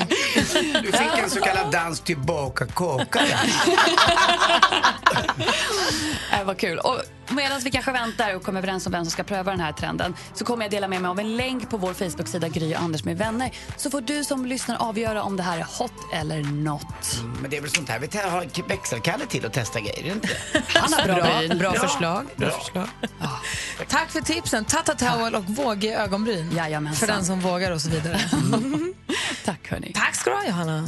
Du fick en så kallad dans tillbaka kaka.
Äh, vad kul. Och medan vi kanske väntar och kommer överens om vem som ska pröva den här trenden så kommer jag dela med mig av en länk på vår Facebook-sida Gry och Anders med vänner. Så får du som lyssnar avgöra om det här är hot eller not.
Men det är väl sånt här vi te- har växelkalle till att testa grejer, är det inte?
Han har bra bryn.
bra
Ja.
förslag.
Bra.
Tack för tipsen. Tata Towel och vågig ögonbryn. För den som vågar och så vidare.
Tack hörni.
Tack ska du ha Johanna.